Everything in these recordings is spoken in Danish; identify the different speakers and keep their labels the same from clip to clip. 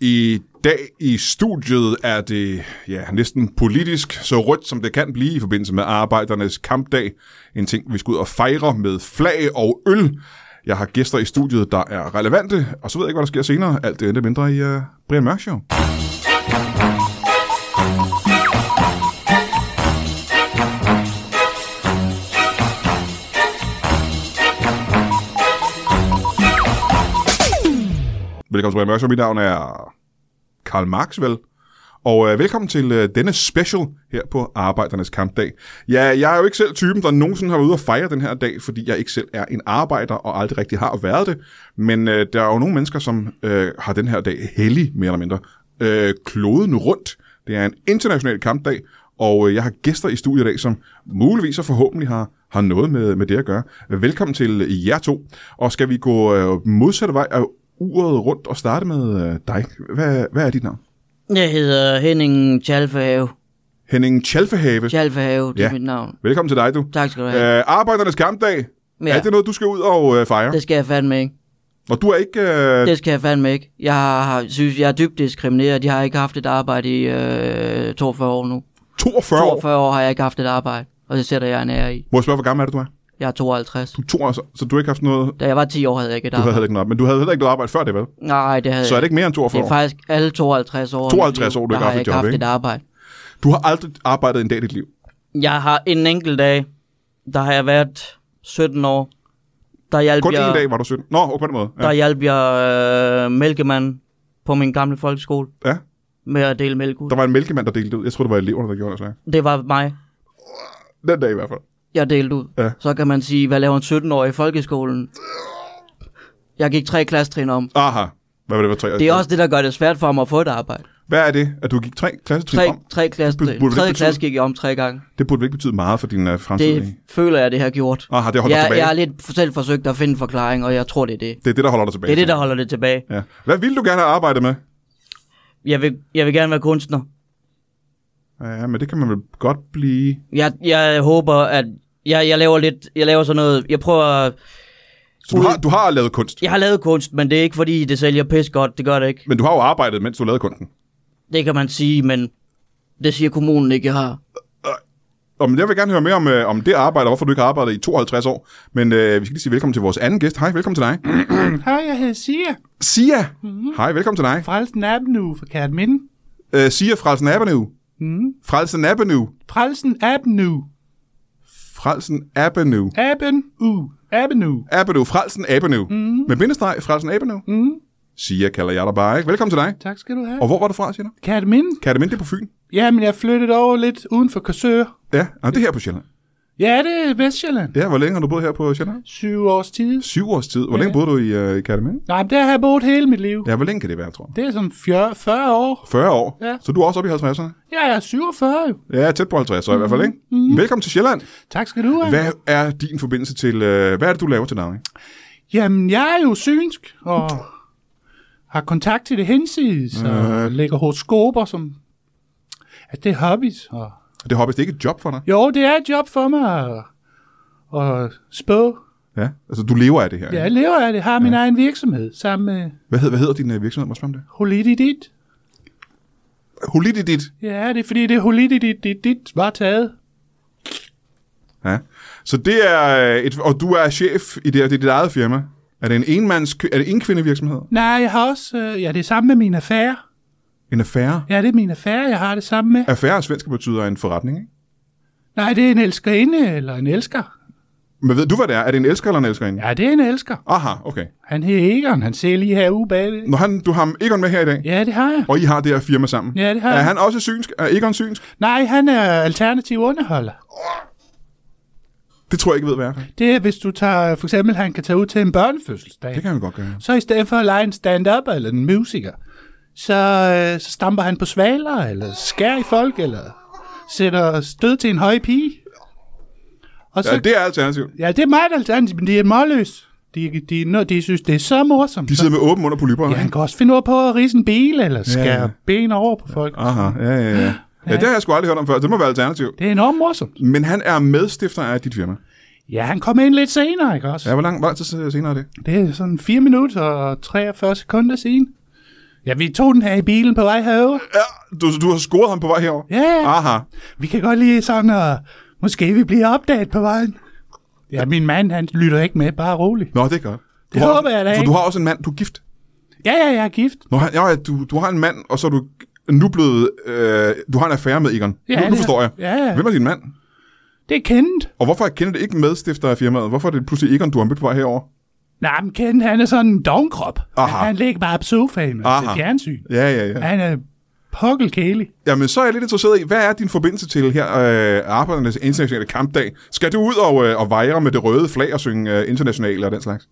Speaker 1: I dag i studiet er det ja, næsten politisk, så rødt som det kan blive i forbindelse med arbejdernes kampdag. En ting, vi skal ud og fejre med flag og øl. Jeg har gæster i studiet, der er relevante, og så ved jeg ikke, hvad der sker senere. Alt det er lidt mindre i uh, Brian Mørk Show. Velkommen til Brian Mørk Show. Mit navn er Karl Marx, vel? Og øh, velkommen til øh, denne special her på Arbejdernes Kampdag. Ja, jeg er jo ikke selv typen, der nogensinde har været ude og fejre den her dag, fordi jeg ikke selv er en arbejder og aldrig rigtig har været det. Men øh, der er jo nogle mennesker, som øh, har den her dag hellig, mere eller mindre. Øh, kloden rundt. Det er en international kampdag, og øh, jeg har gæster i studiet i dag, som muligvis og forhåbentlig har, har noget med, med det at gøre. Velkommen til øh, jer to. Og skal vi gå øh, modsatte vej af uret rundt og starte med øh, dig? Hvad, hvad er dit navn?
Speaker 2: Jeg hedder Henning Tjalfahave.
Speaker 1: Henning Tjalfehave.
Speaker 2: Tjalfahave, det er
Speaker 1: Ja.
Speaker 2: ja. mit navn.
Speaker 1: Velkommen til dig, du.
Speaker 2: Tak skal du have.
Speaker 1: Øh, arbejdernes kampdag. Ja.
Speaker 2: Ja.
Speaker 1: Er det noget, du skal ud og øh, fejre?
Speaker 2: Det skal jeg fandme ikke.
Speaker 1: Og du er ikke... Øh,
Speaker 2: Det skal jeg fandme ikke. Jeg har, synes, jeg er dybt diskrimineret. Jeg har ikke haft et arbejde i øh, 42 år nu.
Speaker 1: 42 år.
Speaker 2: 42 år har jeg ikke haft et arbejde, og det sætter jeg en ære i.
Speaker 1: Må jeg spørge, hvor gammel er det, du er?
Speaker 2: Jeg er 52.
Speaker 1: Du er 42, så- så du har ikke haft noget...
Speaker 2: Da jeg var 10 år, havde jeg ikke et
Speaker 1: Du havde
Speaker 2: arbejde.
Speaker 1: heller ikke noget, men du havde heller ikke noget arbejde før det, vel?
Speaker 2: Nej, det havde
Speaker 1: Så er
Speaker 2: jeg
Speaker 1: det ikke mere end
Speaker 2: ikke.
Speaker 1: 42 år.
Speaker 2: Det er faktisk alle 52 år.
Speaker 1: 52 år, du
Speaker 2: der
Speaker 1: ikke
Speaker 2: har
Speaker 1: haft
Speaker 2: jeg
Speaker 1: et
Speaker 2: ikke
Speaker 1: job,
Speaker 2: haft
Speaker 1: ikke?
Speaker 2: et arbejde.
Speaker 1: Du har aldrig arbejdet en dag i dit liv.
Speaker 2: Jeg har en enkelt dag, der har jeg været 17 år. Der hjalp
Speaker 1: Kun
Speaker 2: jeg...
Speaker 1: én dag var du 17. Nå, okay, på den måde.
Speaker 2: Der
Speaker 1: Ja.
Speaker 2: hjalp jeg øh, mælkemanden på min gamle folkeskole
Speaker 1: ja.
Speaker 2: med at dele mælk ud.
Speaker 1: Der var en mælkemand, der delte det ud. Jeg tror, det var eleverne, der gjorde det. slags.
Speaker 2: Det var mig,
Speaker 1: Den dag i hvert fald.
Speaker 2: jeg delte ud.
Speaker 1: Ja.
Speaker 2: Så kan man sige, hvad laver en 17-årig i folkeskolen? Jeg gik tre klassetrin om.
Speaker 1: Aha. Hvad var det, var tre?
Speaker 2: Det er også det, der gør det svært for mig at få et arbejde.
Speaker 1: Hvad er det, at du gik tre klassetrin
Speaker 2: Tre,
Speaker 1: om?
Speaker 2: tre
Speaker 1: Burde-
Speaker 2: klassetrin.
Speaker 1: burde det
Speaker 2: Tredje
Speaker 1: betyde-
Speaker 2: klasse gik jeg om tre gange.
Speaker 1: Det burde vel ikke betyde meget for din uh, fremtidige...
Speaker 2: Det føler jeg, det har gjort.
Speaker 1: Aha, det holder dig
Speaker 2: Jeg,
Speaker 1: tilbage.
Speaker 2: jeg har lidt selv forsøgt at finde en forklaring, og jeg tror, det er det.
Speaker 1: Det er det, der holder dig tilbage.
Speaker 2: Det er det, der holder det tilbage.
Speaker 1: Ja. Hvad ville du gerne have arbejdet med?
Speaker 2: Jeg vil, jeg vil gerne være kunstner.
Speaker 1: Ja, men det kan man vel godt blive.
Speaker 2: Jeg, jeg håber, at jeg, jeg laver lidt... Jeg laver sådan noget... Jeg prøver at
Speaker 1: Så du
Speaker 2: Ude-
Speaker 1: har, du har lavet kunst,
Speaker 2: Jeg har lavet kunst, men det er ikke fordi, det sælger pis godt. Det gør det ikke.
Speaker 1: men du har jo arbejdet, mens du lavede kunsten.
Speaker 2: Det kan man sige, men det siger kommunen ikke, jeg har.
Speaker 1: Og men jeg vil gerne høre mere om, øh, om det arbejde, og hvorfor du ikke har arbejdet i 52 år. Men øh, vi skal lige sige velkommen til vores anden gæst. Hej, velkommen til dig.
Speaker 3: Hej, jeg hedder Sia
Speaker 1: Sia! Hej, velkommen til dig.
Speaker 3: fra Alsen Avenue fra Kærtminde.
Speaker 1: Øh, Sia Frelsen Avenue.
Speaker 3: Mm.
Speaker 1: Frelsen Avenue.
Speaker 3: Frelsen Avenue.
Speaker 1: Frelsen Avenue.
Speaker 3: Avenue. Avenue.
Speaker 1: Avenue. Frelsen Avenue. Mm. Med bindestreg, Frelsen Avenue.
Speaker 3: Mm.
Speaker 1: Sia kalder jeg dig bare, ikke? Velkommen til dig.
Speaker 3: Tak skal du have.
Speaker 1: Og hvor var du fra, siger du?
Speaker 3: Kærtminde?
Speaker 1: Kan det minde det på Fyn?
Speaker 3: Jamen, jeg flyttede over lidt uden for Korsør.
Speaker 1: Ja, og det er her på Sjælland.
Speaker 3: Ja, det er Vestjylland.
Speaker 1: Ja, hvor længe har du boet her på Sjælland?
Speaker 3: Syv års tid.
Speaker 1: Syv års tid. Hvor længe boede du i, øh, i Kataminde?
Speaker 3: Nej, men der har jeg boet hele mit liv.
Speaker 1: Ja, hvor længe kan det være, tror du?
Speaker 3: Det er som fjør- 40 år.
Speaker 1: 40 år.
Speaker 3: Ja.
Speaker 1: Så du er også oppe i 50'erne?
Speaker 3: Ja, jeg er 47 jo.
Speaker 1: Ja, tæt på 50 år i hvert
Speaker 3: Mhm.
Speaker 1: fald, ikke? Mm. Velkommen til Sjælland.
Speaker 3: Tak skal du have.
Speaker 1: Hvad er din forbindelse til... Øh, hvad er det, du laver til navn?
Speaker 3: Jamen, jeg er jo synsk og har kontakt til det hensides
Speaker 1: Øh.
Speaker 3: og lægger horoskoper som... At det er hobbies og
Speaker 1: Det hopper det er ikke et job for dig.
Speaker 3: Jo, det er et job for mig at, at spå.
Speaker 1: Ja. Altså, du lever af det her.
Speaker 3: Ja,
Speaker 1: ikke?
Speaker 3: jeg lever af det. Har min egen virksomhed sammen med
Speaker 1: Hvad, hed, hvad hedder din øh, virksomhed? Må jeg spørge om det?
Speaker 3: Holididit.
Speaker 1: Holididit.
Speaker 3: Ja, det er fordi, det Holididit dit, dit var taget.
Speaker 1: Ja. Så det er øh, et... Og du er chef i det her. Det er dit eget firma. Er det en enmands... Er det en kvindevirksomhed?
Speaker 3: Nej, jeg har også... Øh, ja, det er sammen med min affære.
Speaker 1: En affære?
Speaker 3: Ja, det er min affære, jeg har det sammen med.
Speaker 1: Affære og svensk betyder en forretning, ikke?
Speaker 3: Nej, det er en elskerinde eller en elsker.
Speaker 1: Men ved du, hvad det er? Er det en elsker eller en elskerinde?
Speaker 3: Ja, det er en elsker.
Speaker 1: Aha, okay.
Speaker 3: Han hedder Egon, han ser lige herude bagved.
Speaker 1: Når han, du har Egon med her i dag,
Speaker 3: Ja, det har jeg.
Speaker 1: og I har det her firma sammen.
Speaker 3: Ja, det har
Speaker 1: Er
Speaker 3: jeg.
Speaker 1: han også synsk? Er Egon synsk?
Speaker 3: Nej, han er alternativ underholder.
Speaker 1: Det tror jeg ikke, jeg ved, hvad er.
Speaker 3: Det er, hvis du tager... For eksempel, han kan tage ud til en børnefødselsdag.
Speaker 1: Det kan han godt gøre.
Speaker 3: Så i stedet for at lege en stand-up eller en musiker, så, øh, så stamper han på svaler, eller skærer i folk, eller sætter stød til en høj pige. Og så,
Speaker 1: Ja, det er alternativt.
Speaker 3: ja, det er meget alternativt, men de er målløs. De, de, de, de synes, det er så morsomt.
Speaker 1: De
Speaker 3: så,
Speaker 1: sidder med åben under polypper.
Speaker 3: ja, han kan også finde ord på at rise en bil, eller skære
Speaker 1: ja.
Speaker 3: ja. ben over på folk.
Speaker 1: Aha, ja, ja, ja. Ja, det har jeg sgu aldrig hørt om før. Det må være alternativt.
Speaker 3: Det er enormt morsomt.
Speaker 1: Men han er medstifter af dit firma.
Speaker 3: Ja, han kom ind lidt senere, ikke også?
Speaker 1: Ja, hvor lang, hvor lang tid senere er det?
Speaker 3: Det er sådan 4 minutter og 43 sekunder siden. Ja, vi tog den her i bilen på vej herover.
Speaker 1: Ja, du, du har scoret ham på vej herover.
Speaker 3: Ja, ja.
Speaker 1: Aha.
Speaker 3: Vi kan godt lige sådan, og måske vi bliver opdaget på vejen. Ja, min mand, han lytter ikke med, bare rolig.
Speaker 1: Nå, det er godt. Du
Speaker 3: Det
Speaker 1: har
Speaker 3: håber jeg da
Speaker 1: For
Speaker 3: ikke.
Speaker 1: du har også en mand, du er gift.
Speaker 3: Ja, ja, jeg er gift.
Speaker 1: Nå, han, ja, ja, du, du har en mand, og så er du nu blevet... Øh, du har en affære med Egon.
Speaker 3: Ja,
Speaker 1: nu, nu
Speaker 3: det-
Speaker 1: forstår jeg.
Speaker 3: ja, ja.
Speaker 1: Hvem er din mand?
Speaker 3: Det er kendt.
Speaker 1: Og hvorfor er Kenneth ikke medstifter af firmaet? Hvorfor er det pludselig Egon, du har mødt på vej herover?
Speaker 3: Nej, men Ken, han er sådan en dognkrop.
Speaker 1: Aha.
Speaker 3: Han ligger bare på sofaen og ser
Speaker 1: Aha.
Speaker 3: fjernsyn.
Speaker 1: Ja, ja, ja.
Speaker 3: Han er pokkelkælig.
Speaker 1: Jamen, så er jeg lidt interesseret i, hvad er din forbindelse til her øh, Arbejdernes Internationale Kampdag? Skal du ud og, øh, og vejre med det røde flag og synge øh, internationale og den slags?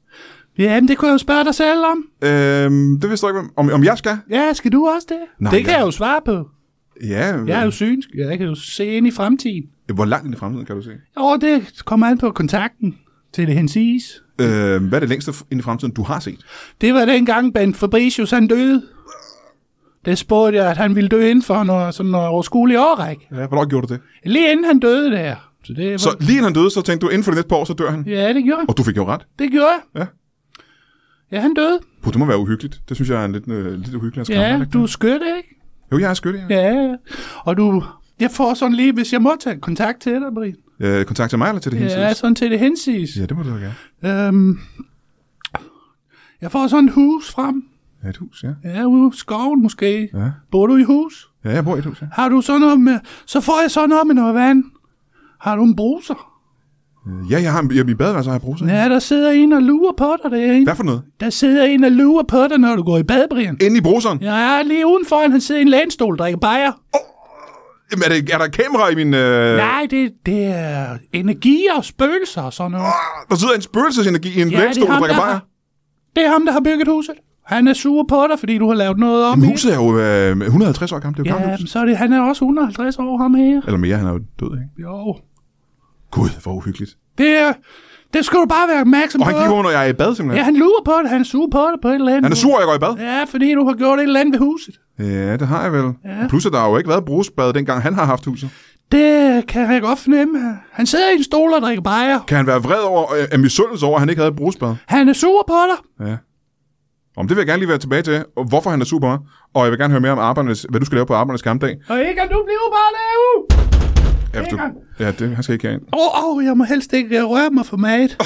Speaker 3: Jamen, det kunne jeg jo spørge dig selv om.
Speaker 1: Øhm, det vidste jeg ikke, om, om jeg skal.
Speaker 3: Ja, skal du også det?
Speaker 1: Nej,
Speaker 3: det kan
Speaker 1: jeg-
Speaker 3: jeg jo svare på.
Speaker 1: Ja, øh,
Speaker 3: Jeg er jo synsk. Jeg kan jo se ind i fremtiden.
Speaker 1: hvor langt ind i fremtiden kan du se?
Speaker 3: Og det kommer an på kontakten til det hensiges.
Speaker 1: Øh, hvad er det længste ind i fremtiden, du har set?
Speaker 3: Det var dengang Ben Fabricius han døde. Det spurgte jeg, at han ville dø inden for noget, sådan noget overskuelig årrække.
Speaker 1: Ja, hvornår gjorde du det?
Speaker 3: Lige inden han døde der. Så det var...
Speaker 1: Så lige inden han døde, så tænkte du, inden for det næste par år, så dør han.
Speaker 3: Ja, det gjorde han.
Speaker 1: Og du fik jo ret.
Speaker 3: Det gjorde jeg.
Speaker 1: Ja.
Speaker 3: Ja, han døde.
Speaker 1: Puh, det må være uhyggeligt. Det synes jeg er en lidt, øh, lidt uhyggelig at skræmme, er det
Speaker 3: Ja,
Speaker 1: ikke
Speaker 3: du er
Speaker 1: det?
Speaker 3: skødt, ikke?
Speaker 1: Jo, jeg er skytte, ja.
Speaker 3: Ja, og du... Jeg får sådan lige, hvis jeg må tage kontakt til dig, Brie.
Speaker 1: Øh, kontakt til mig eller til det hensides?
Speaker 3: Ja, sådan til det hensiges.
Speaker 1: ja, det må du jo gerne.
Speaker 3: Øhm, jeg får sådan et hus frem.
Speaker 1: Ja, et hus, ja.
Speaker 3: Ja, ude i skoven måske.
Speaker 1: Ja,
Speaker 3: Bor du i hus?
Speaker 1: ja jeg bor i et hus, ja.
Speaker 3: Har du sådan noget med... Så får jeg sådan noget med noget vand. Har du en bruser?
Speaker 1: Øh, Ja, jeg har jeg, min badeværelse, har jeg brugt
Speaker 3: Ja, der sidder en og lurer på dig derinde.
Speaker 1: Hvad for noget?
Speaker 3: Der sidder en og lurer på dig, når du går i bad, Brian.
Speaker 1: Inde i bruseren? Ja.
Speaker 3: Ja, lige udenfor, han sidder i en lænestol, drikker bajer.
Speaker 1: Jamen, er, det, er der kamera i min... Øh...
Speaker 3: Nej, det, det er energi og spøgelser og sådan noget.
Speaker 1: Der sidder Ah, en spøgelsesenergi i en ja, lænestol, der drikker bajer.
Speaker 3: har, det er ham, der har bygget huset. Han er sur på dig, fordi du har lavet noget om
Speaker 1: Men
Speaker 3: i det.
Speaker 1: huset er jo øh, 150 år gammelt. Det er jo ja.
Speaker 3: Ja,
Speaker 1: gammelt
Speaker 3: men
Speaker 1: hus.
Speaker 3: så er det, han er også 150 år, ham her.
Speaker 1: Eller mere, han er jo død, ikke?
Speaker 3: Jo.
Speaker 1: Gud, hvor uhyggeligt.
Speaker 3: Det, er- det skal du bare være opmærksom
Speaker 1: Og
Speaker 3: på.
Speaker 1: han kigger på mig, når jeg er i bad, simpelthen.
Speaker 3: Ja, han lurer på det. Han suger på det på et eller andet.
Speaker 1: Han er sur, jeg går i bad.
Speaker 3: Ja, fordi du har gjort et eller andet ved huset.
Speaker 1: Ja, det har jeg vel. Ja. Plus, at der har jo ikke været brugsbad, dengang han har haft huset.
Speaker 3: Det kan jeg godt fornemme. Han sidder i en stol og drikker bajer.
Speaker 1: Kan han være vred over, øh, af misundelse over, at han ikke havde et brugsbad?
Speaker 3: Han er sur på dig.
Speaker 1: Ja. Om det vil jeg gerne lige være tilbage til, og hvorfor han er super, og jeg vil gerne høre mere om arbejdernes, hvad du skal lave på arbejdernes kampdag.
Speaker 3: Og ikke at du bliver bare derude.
Speaker 1: Ja, hvis du,
Speaker 3: Inger!
Speaker 1: ja det, han skal ikke herind.
Speaker 3: Åh, oh, oh, jeg må helst ikke øh, røre mig for meget.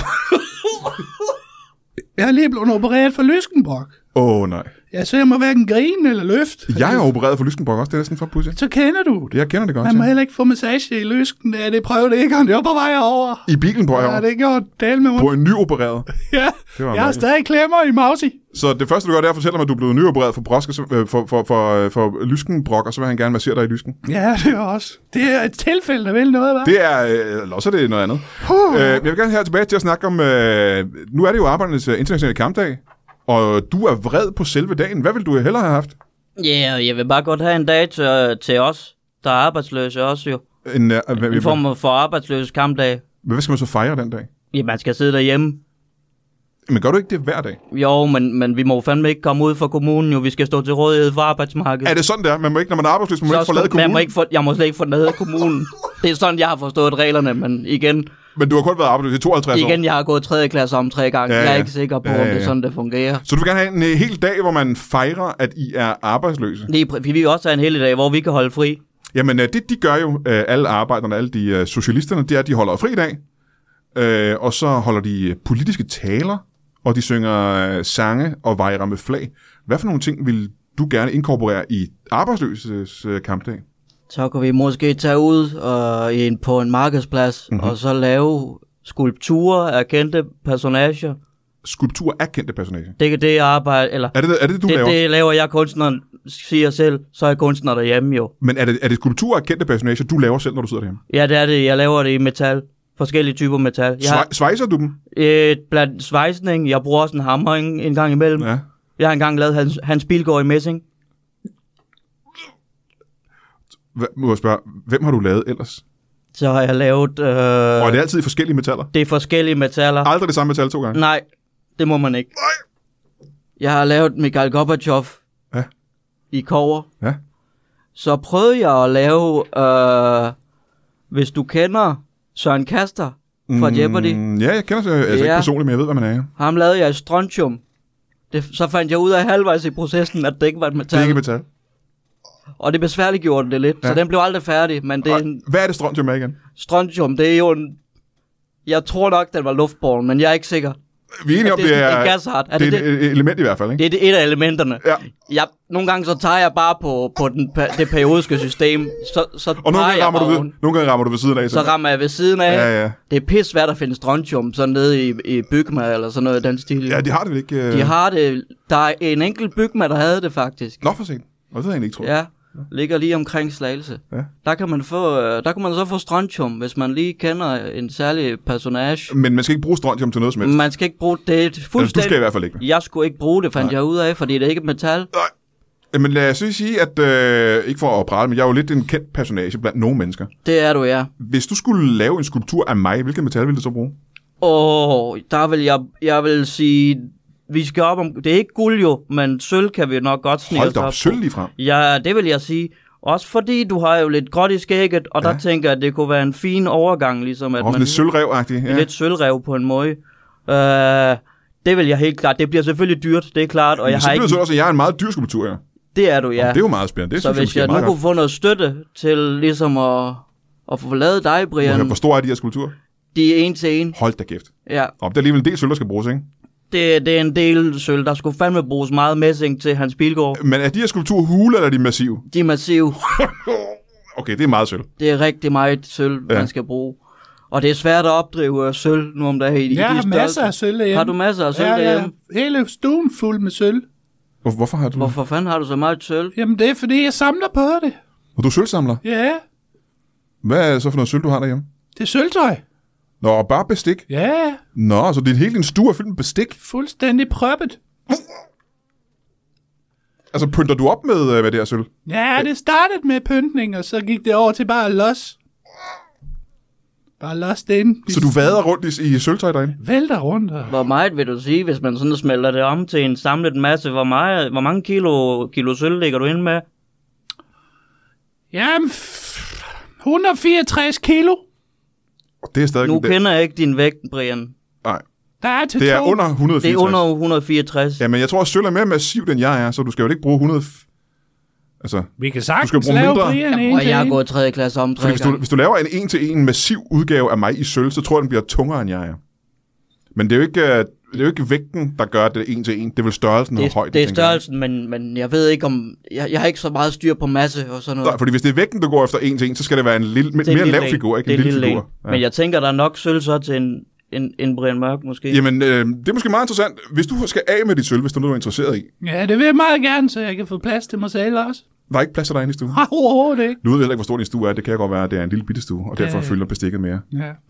Speaker 3: jeg er lige blevet opereret for Lyskenborg.
Speaker 1: Åh, oh, nej.
Speaker 3: Ja, så jeg må hverken grine eller løft.
Speaker 1: Jeg er opereret for Lyskenborg også, det er næsten for pudsigt.
Speaker 3: Så kender du det.
Speaker 1: Jeg kender det godt.
Speaker 3: Man må
Speaker 1: ja.
Speaker 3: heller ikke få massage i lysken. Ja, det prøvede ikke, han er på vej over.
Speaker 1: I bilen på
Speaker 3: Ja,
Speaker 1: herovre.
Speaker 3: det gjorde del med
Speaker 1: På
Speaker 3: mig.
Speaker 1: en nyopereret.
Speaker 3: Ja,
Speaker 1: var
Speaker 3: jeg har
Speaker 1: mærkeligt.
Speaker 3: stadig klemmer i Mausi.
Speaker 1: Så det første, du gør, det er at fortælle mig, at du er blevet nyopereret for, brosk, og så- øh, for, for, for, øh, for lyskenbrok, og så vil han gerne massere dig i lysken.
Speaker 3: Ja, det er også. Det er et tilfælde, der vil noget, hva'?
Speaker 1: Det er, øh, eller også er det noget andet.
Speaker 3: Puh.
Speaker 1: Øh, jeg vil gerne her tilbage til at snakke om, øh, nu er det jo arbejdernes øh, internationale kampdag, og du er vred på selve dagen. Hvad ville du hellere have haft?
Speaker 2: Ja, yeah, jeg vil bare godt have en dag til, til os, der er arbejdsløse også jo.
Speaker 1: En, øh, hvad,
Speaker 2: En
Speaker 1: hvad,
Speaker 2: form for arbejdsløse kampdag.
Speaker 1: hvad skal man så fejre den dag?
Speaker 2: Ja, man skal sidde derhjemme.
Speaker 1: Men gør du ikke det hver dag?
Speaker 2: Jo, men, men vi må jo fandme ikke komme ud fra kommunen jo. Vi skal stå til rådighed for arbejdsmarkedet.
Speaker 1: Er det sådan, der? Man må ikke, når man er arbejdsløs, man må
Speaker 2: Så
Speaker 1: ikke forlade
Speaker 2: skal- man
Speaker 1: kommunen.
Speaker 2: må ikke for, jeg må slet ikke forlade kommunen. Det er sådan, jeg har forstået reglerne, men igen,
Speaker 1: Men du har kun været arbejdsløs i 52 år.
Speaker 2: igen jeg har gået 3. klasse om tre gange.
Speaker 1: Ja,
Speaker 2: Ja, ja.
Speaker 1: ja.
Speaker 2: Jeg er ikke sikker på,
Speaker 1: Ja,
Speaker 2: ja,
Speaker 1: ja,
Speaker 2: ja. om det
Speaker 1: ja.
Speaker 2: er sådan, det fungerer.
Speaker 1: Så du vil gerne have en øh, hel dag, hvor man fejrer, at I er arbejdsløse?
Speaker 2: Lige, præ- vi vil også have en hel dag, hvor vi kan holde fri.
Speaker 1: Jamen, øh, det de gør jo, øh, alle arbejderne, alle de øh, socialisterne, det er, at de holder fri i dag, øh, og så holder de øh, politiske taler, og de synger øh, sange og vejrer med flag. Hvad for nogle ting vil du gerne inkorporere i arbejdsløses øh, kampdag?
Speaker 2: Så kunne vi måske tage ud og i en, på en markedsplads,
Speaker 1: Mhm.
Speaker 2: mm-hmm. og så lave skulpturer af kendte personager.
Speaker 1: Skulptur af kendte personager.
Speaker 2: Det er det arbejde, eller
Speaker 1: Er det er det, du
Speaker 2: det,
Speaker 1: laver?
Speaker 2: det laver jeg kunstneren, siger selv, så er jeg kunstner derhjemme jo.
Speaker 1: Men er det, er det skulptur af kendte personager, du laver selv, når du sidder derhjemme?
Speaker 2: Ja, det er det. Jeg laver det i metal. Forskellige typer metal. Jeg
Speaker 1: Ja.
Speaker 2: har
Speaker 1: Svejser du dem?
Speaker 2: øh, blandt svejsning, jeg bruger også en hammer en, en gang imellem. Ja.
Speaker 1: Ja.
Speaker 2: Jeg har engang lavet Hans, Hans Bilgaard i messing.
Speaker 1: Hva, må jeg spørge, hvem har du lavet ellers?
Speaker 2: Så har jeg lavet... Øh,
Speaker 1: Øh. Og er
Speaker 2: det...
Speaker 1: det altid i forskellige metaller?
Speaker 2: det er forskellige metaller.
Speaker 1: Aldrig det samme metal to gange?
Speaker 2: Nej, det må man ikke.
Speaker 1: Nej.
Speaker 2: Jeg har lavet Mikhail Gorbachev
Speaker 1: Ja.
Speaker 2: i kover.
Speaker 1: Ja.
Speaker 2: Så prøvede jeg at lave... Øh, hvis du kender Søren Kaster fra Jeopardy.
Speaker 1: Mm, ja, jeg kender så altså ja. ikke
Speaker 2: Ja.
Speaker 1: personligt, men jeg ved, hvad man er.
Speaker 2: Ham lavede jeg i strontium. Det, så fandt jeg ud af halvvejs i processen, at det ikke var et
Speaker 1: Det er
Speaker 2: metal.
Speaker 1: ikke metal.
Speaker 2: Og det besværliggjorde det lidt, ja. så den blev aldrig færdig. Men det er en
Speaker 1: Hvad er det strontium er igen?
Speaker 2: strontium, det er jo en... Jeg tror nok, den var luftborgen, men jeg er ikke sikker.
Speaker 1: Vi er enige om,
Speaker 2: det er
Speaker 1: det
Speaker 2: sådan
Speaker 1: er,
Speaker 2: en gashard. Er
Speaker 1: det er
Speaker 2: det
Speaker 1: et e- element i hvert fald, ikke?
Speaker 2: Det er det et af elementerne.
Speaker 1: Ja.
Speaker 2: Jeg, nogle gange så tager jeg bare på, på den, pe- det periodiske system, så, så
Speaker 1: Og nogle
Speaker 2: tager
Speaker 1: gange,
Speaker 2: jeg
Speaker 1: rammer du
Speaker 2: bare
Speaker 1: ved,
Speaker 2: oven.
Speaker 1: nogle gange rammer du ved siden af.
Speaker 2: Så rammer jeg ved siden af.
Speaker 1: Ja, ja.
Speaker 2: Det er pis svært at finde strontium sådan nede i, i Bygma eller sådan noget i den stil.
Speaker 1: Ja, de har det vel ikke... øh,
Speaker 2: de har det. Der er en enkelt Bygma, der havde det faktisk.
Speaker 1: Nå, for sent. Og det havde jeg egentlig ikke troet.
Speaker 2: Ja, ligger lige omkring Slagelse.
Speaker 1: Ja.
Speaker 2: Der, kan man få, øh, der kan man så få strontium, hvis man lige kender en særlig personage.
Speaker 1: Men man skal ikke bruge strontium til noget som helst.
Speaker 2: Man skal ikke bruge det det er
Speaker 1: Altså, du
Speaker 2: Mm, fuldstændig.
Speaker 1: skal i hvert fald ikke.
Speaker 2: Jeg skulle ikke bruge det, fandt jeg ud af, fordi det er ikke et metal.
Speaker 1: Nej. Jamen lad os lige sige, at øh, ikke for at prale, men jeg er jo lidt en kendt personage blandt nogle mennesker.
Speaker 2: Det er du, ja.
Speaker 1: Hvis du skulle lave en skulptur af mig, hvilket metal ville du så bruge?
Speaker 2: Åh, der vil jeg, jeg vil sige, vi skal op om, det er ikke guld jo, men sølv kan vi nok godt snige
Speaker 1: Hold
Speaker 2: os
Speaker 1: da
Speaker 2: op.
Speaker 1: op, sølv lige frem.
Speaker 2: Ja, det vil jeg sige. Også fordi du har jo lidt gråt i skægget, og ja. der tænker jeg, at det kunne være en fin overgang, ligesom at
Speaker 1: Og sådan
Speaker 2: man
Speaker 1: lidt sølvrev ja.
Speaker 2: ja. lidt sølvrev på en måde. Øh, det vil jeg helt klart. Det bliver selvfølgelig dyrt, det er klart, og jeg
Speaker 1: Men så
Speaker 2: har
Speaker 1: bliver
Speaker 2: ikke...
Speaker 1: det så også, at jeg er en meget dyr skulptur, ja.
Speaker 2: Det er du, ja.
Speaker 1: Det er jo meget spændende. Det
Speaker 2: så
Speaker 1: synes jeg,
Speaker 2: hvis
Speaker 1: måske er
Speaker 2: jeg nu
Speaker 1: meget
Speaker 2: kunne få noget støtte til ligesom at, at få lavet dig,
Speaker 1: godt.
Speaker 2: Brian,
Speaker 1: Hvor stor er de her skulpturer?
Speaker 2: de er en til en.
Speaker 1: Hold da kæft.
Speaker 2: Ja,
Speaker 1: Om det er alligevel en del sølv, der skal bruges, ikke?
Speaker 2: det, det er en del sølv. Der skulle fandme bruges meget messing til Hans Bilgaard.
Speaker 1: Men er de her skulpturer hule, eller er de massive?
Speaker 2: De er massive.
Speaker 1: okay, det er meget sølv.
Speaker 2: Det er rigtig meget sølv,
Speaker 1: Ja.
Speaker 2: ja. man skal bruge. Og det er svært at opdrive øh, sølv nu om dagen i
Speaker 3: Jeg
Speaker 2: de
Speaker 3: har
Speaker 2: størrelser.
Speaker 3: masser af sølv derhjemme.
Speaker 2: Har du masser af sølv
Speaker 3: ja, ja.
Speaker 2: derhjemme?
Speaker 3: Hele stuen fuld med sølv.
Speaker 1: Hvor- Hvorfor har du... Hvorfor?
Speaker 2: Hvorfor fanden har du så meget sølv?
Speaker 3: Jamen, det er, fordi jeg samler på det.
Speaker 1: Og du er sølvsamler.
Speaker 3: Ja,
Speaker 1: Hvad er så for noget sølv, du har derhjemme?
Speaker 3: det er sølvtøj.
Speaker 1: Nå, bare bestik.
Speaker 3: Ja,
Speaker 1: Nå, så det er helt en stue fyldt med bestik.
Speaker 3: fuldstændig proppet.
Speaker 1: Altså, pynter du op med, øh, med det her sølv?
Speaker 3: Ja, det startede med pyntning, og så gik det over til bare los. Bare los det ind.
Speaker 1: Så du vader rundt i, i sølvtøj derinde?
Speaker 3: Vælter rundt. Og...
Speaker 2: Hvor meget vil du sige, hvis man sådan smelter det om til en samlet masse? Hvor, meget, hvor mange kilo, kilo sølv ligger du ind med?
Speaker 3: Jamen, f- 164 kilo.
Speaker 1: Og det er stadig
Speaker 2: Nu
Speaker 1: en dag.
Speaker 2: kender jeg ikke din vægt, Brian.
Speaker 1: Nej,
Speaker 3: Der er til
Speaker 1: det er
Speaker 3: to.
Speaker 1: under 164.
Speaker 2: Det er under 164. Ja.
Speaker 1: Jamen, jeg tror, at sølv er mere massivt, end jeg er, så du skal jo ikke bruge 100... f- Altså,
Speaker 3: Vi kan
Speaker 1: Du
Speaker 3: sagtens
Speaker 1: skal bruge
Speaker 3: lave
Speaker 1: mindre.
Speaker 3: Brian en
Speaker 2: Og
Speaker 3: til
Speaker 2: jeg er
Speaker 3: en.
Speaker 2: gået 3. klasse om tre
Speaker 1: fordi hvis du,
Speaker 2: gange.
Speaker 1: hvis du laver en en-til-en massiv udgave af mig i sølv, så tror jeg, den bliver tungere, end jeg er. Men det er jo ikke, øh, det er jo ikke vægten, der gør at det er en-til-en. Det er vel størrelsen og højden.
Speaker 2: Det, det er
Speaker 1: tænker jeg.
Speaker 2: størrelsen, men, men jeg ved ikke om... Jeg, jeg har ikke så meget styr på masse og sådan noget.
Speaker 1: Nej, fordi hvis det er vægten, du går efter en-til-en, så skal det være en lille,
Speaker 2: Det er en
Speaker 1: mere
Speaker 2: lille
Speaker 1: lav
Speaker 2: en.
Speaker 1: figur, ikke
Speaker 2: Det
Speaker 1: en
Speaker 2: er
Speaker 1: lille, figur.
Speaker 2: en. Men jeg tænker, der er nok sølv så til en, en, en Brian Mørk måske.
Speaker 1: Jamen, øh, det er måske meget interessant. Hvis du skal af med dit sølv, hvis det er noget, du er interesseret i.
Speaker 3: Ja, det vil jeg meget gerne, så jeg kan få plads til mig selv også.
Speaker 1: Der er ikke plads til dig inde i stuen.
Speaker 3: Har overhovedet ikke.
Speaker 1: Nu ved jeg heller ikke, hvor stor din stue er. Det kan godt være, at det er en lille bitte stue, og
Speaker 2: Øh.
Speaker 1: derfor
Speaker 3: Ja, ja.
Speaker 1: fylder bestikket mere.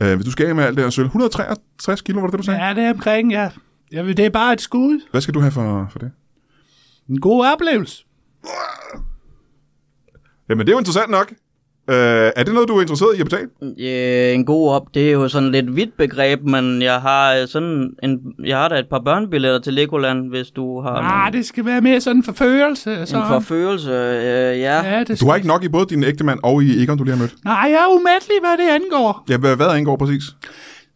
Speaker 3: Ja.
Speaker 1: Øh, hvis du skal af med alt det her sølv, 163 kilo, var det det, du sagde?
Speaker 3: ja, det er omkring, ja. Jeg vil, det er bare et skud.
Speaker 1: Hvad skal du have for, for det?
Speaker 3: En god oplevelse.
Speaker 1: Jamen, det er jo interessant nok. Øh, er det noget, du er interesseret i at betale?
Speaker 2: Øh, en god op, det er jo sådan lidt vidt begreb, men jeg har øh, sådan en, jeg har da et par børnebilletter til Legoland, hvis du har
Speaker 3: Ah, det skal være mere sådan en forførelse.
Speaker 2: en
Speaker 3: Så.
Speaker 2: forførelse. Øh, ja.
Speaker 3: Ja, det
Speaker 1: Du
Speaker 3: skal...
Speaker 1: har ikke nok i både din ægtemand og i Egon, du lige har mødt.
Speaker 3: Nej, jeg er umættelig, hvad det angår.
Speaker 1: Ja, hvad, hvad indgår præcis?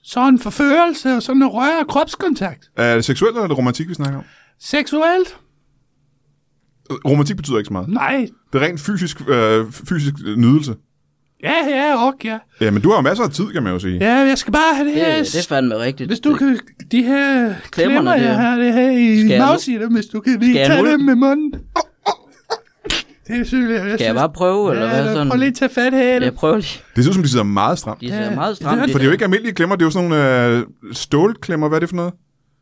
Speaker 3: Så en forførelse og sådan en rør og kropskontakt.
Speaker 1: Er det seksuelt eller er det romantik, vi snakker om?
Speaker 3: Seksuelt?
Speaker 1: Øh, Romantik betyder ikke så meget.
Speaker 3: Nej.
Speaker 1: Det er rent fysisk, øh, fysisk øh, nydelse.
Speaker 3: Ja, ja, ok, ja.
Speaker 1: Jamen, du har jo masser af tid, kan man jo sige.
Speaker 3: Ja, jeg skal bare have det,
Speaker 2: Det,
Speaker 3: her.
Speaker 2: det er fandme rigtigt.
Speaker 3: hvis du
Speaker 2: Det-
Speaker 3: kan, de her klemmer,
Speaker 2: der.
Speaker 3: jeg har det her i
Speaker 2: Skal jeg nu-
Speaker 3: mavsi, dem, hvis du kan lige
Speaker 2: Skal jeg
Speaker 3: tage
Speaker 2: nu-
Speaker 3: dem med munden. Det synes jeg, jeg
Speaker 2: Skal jeg
Speaker 3: synes-
Speaker 2: bare prøve, eller
Speaker 3: ja,
Speaker 2: hvad? Sådan?
Speaker 3: Prøv lige at tage fat her.
Speaker 2: Jeg prøver lige.
Speaker 1: Det ser ud som, de sidder meget stramt.
Speaker 2: De ser
Speaker 3: Ja,
Speaker 2: meget
Speaker 3: det
Speaker 2: stramt.
Speaker 3: er-
Speaker 1: For det er jo ikke almindelige klemmer, det er jo sådan nogle øh, stålklemmer. Hvad er det for noget?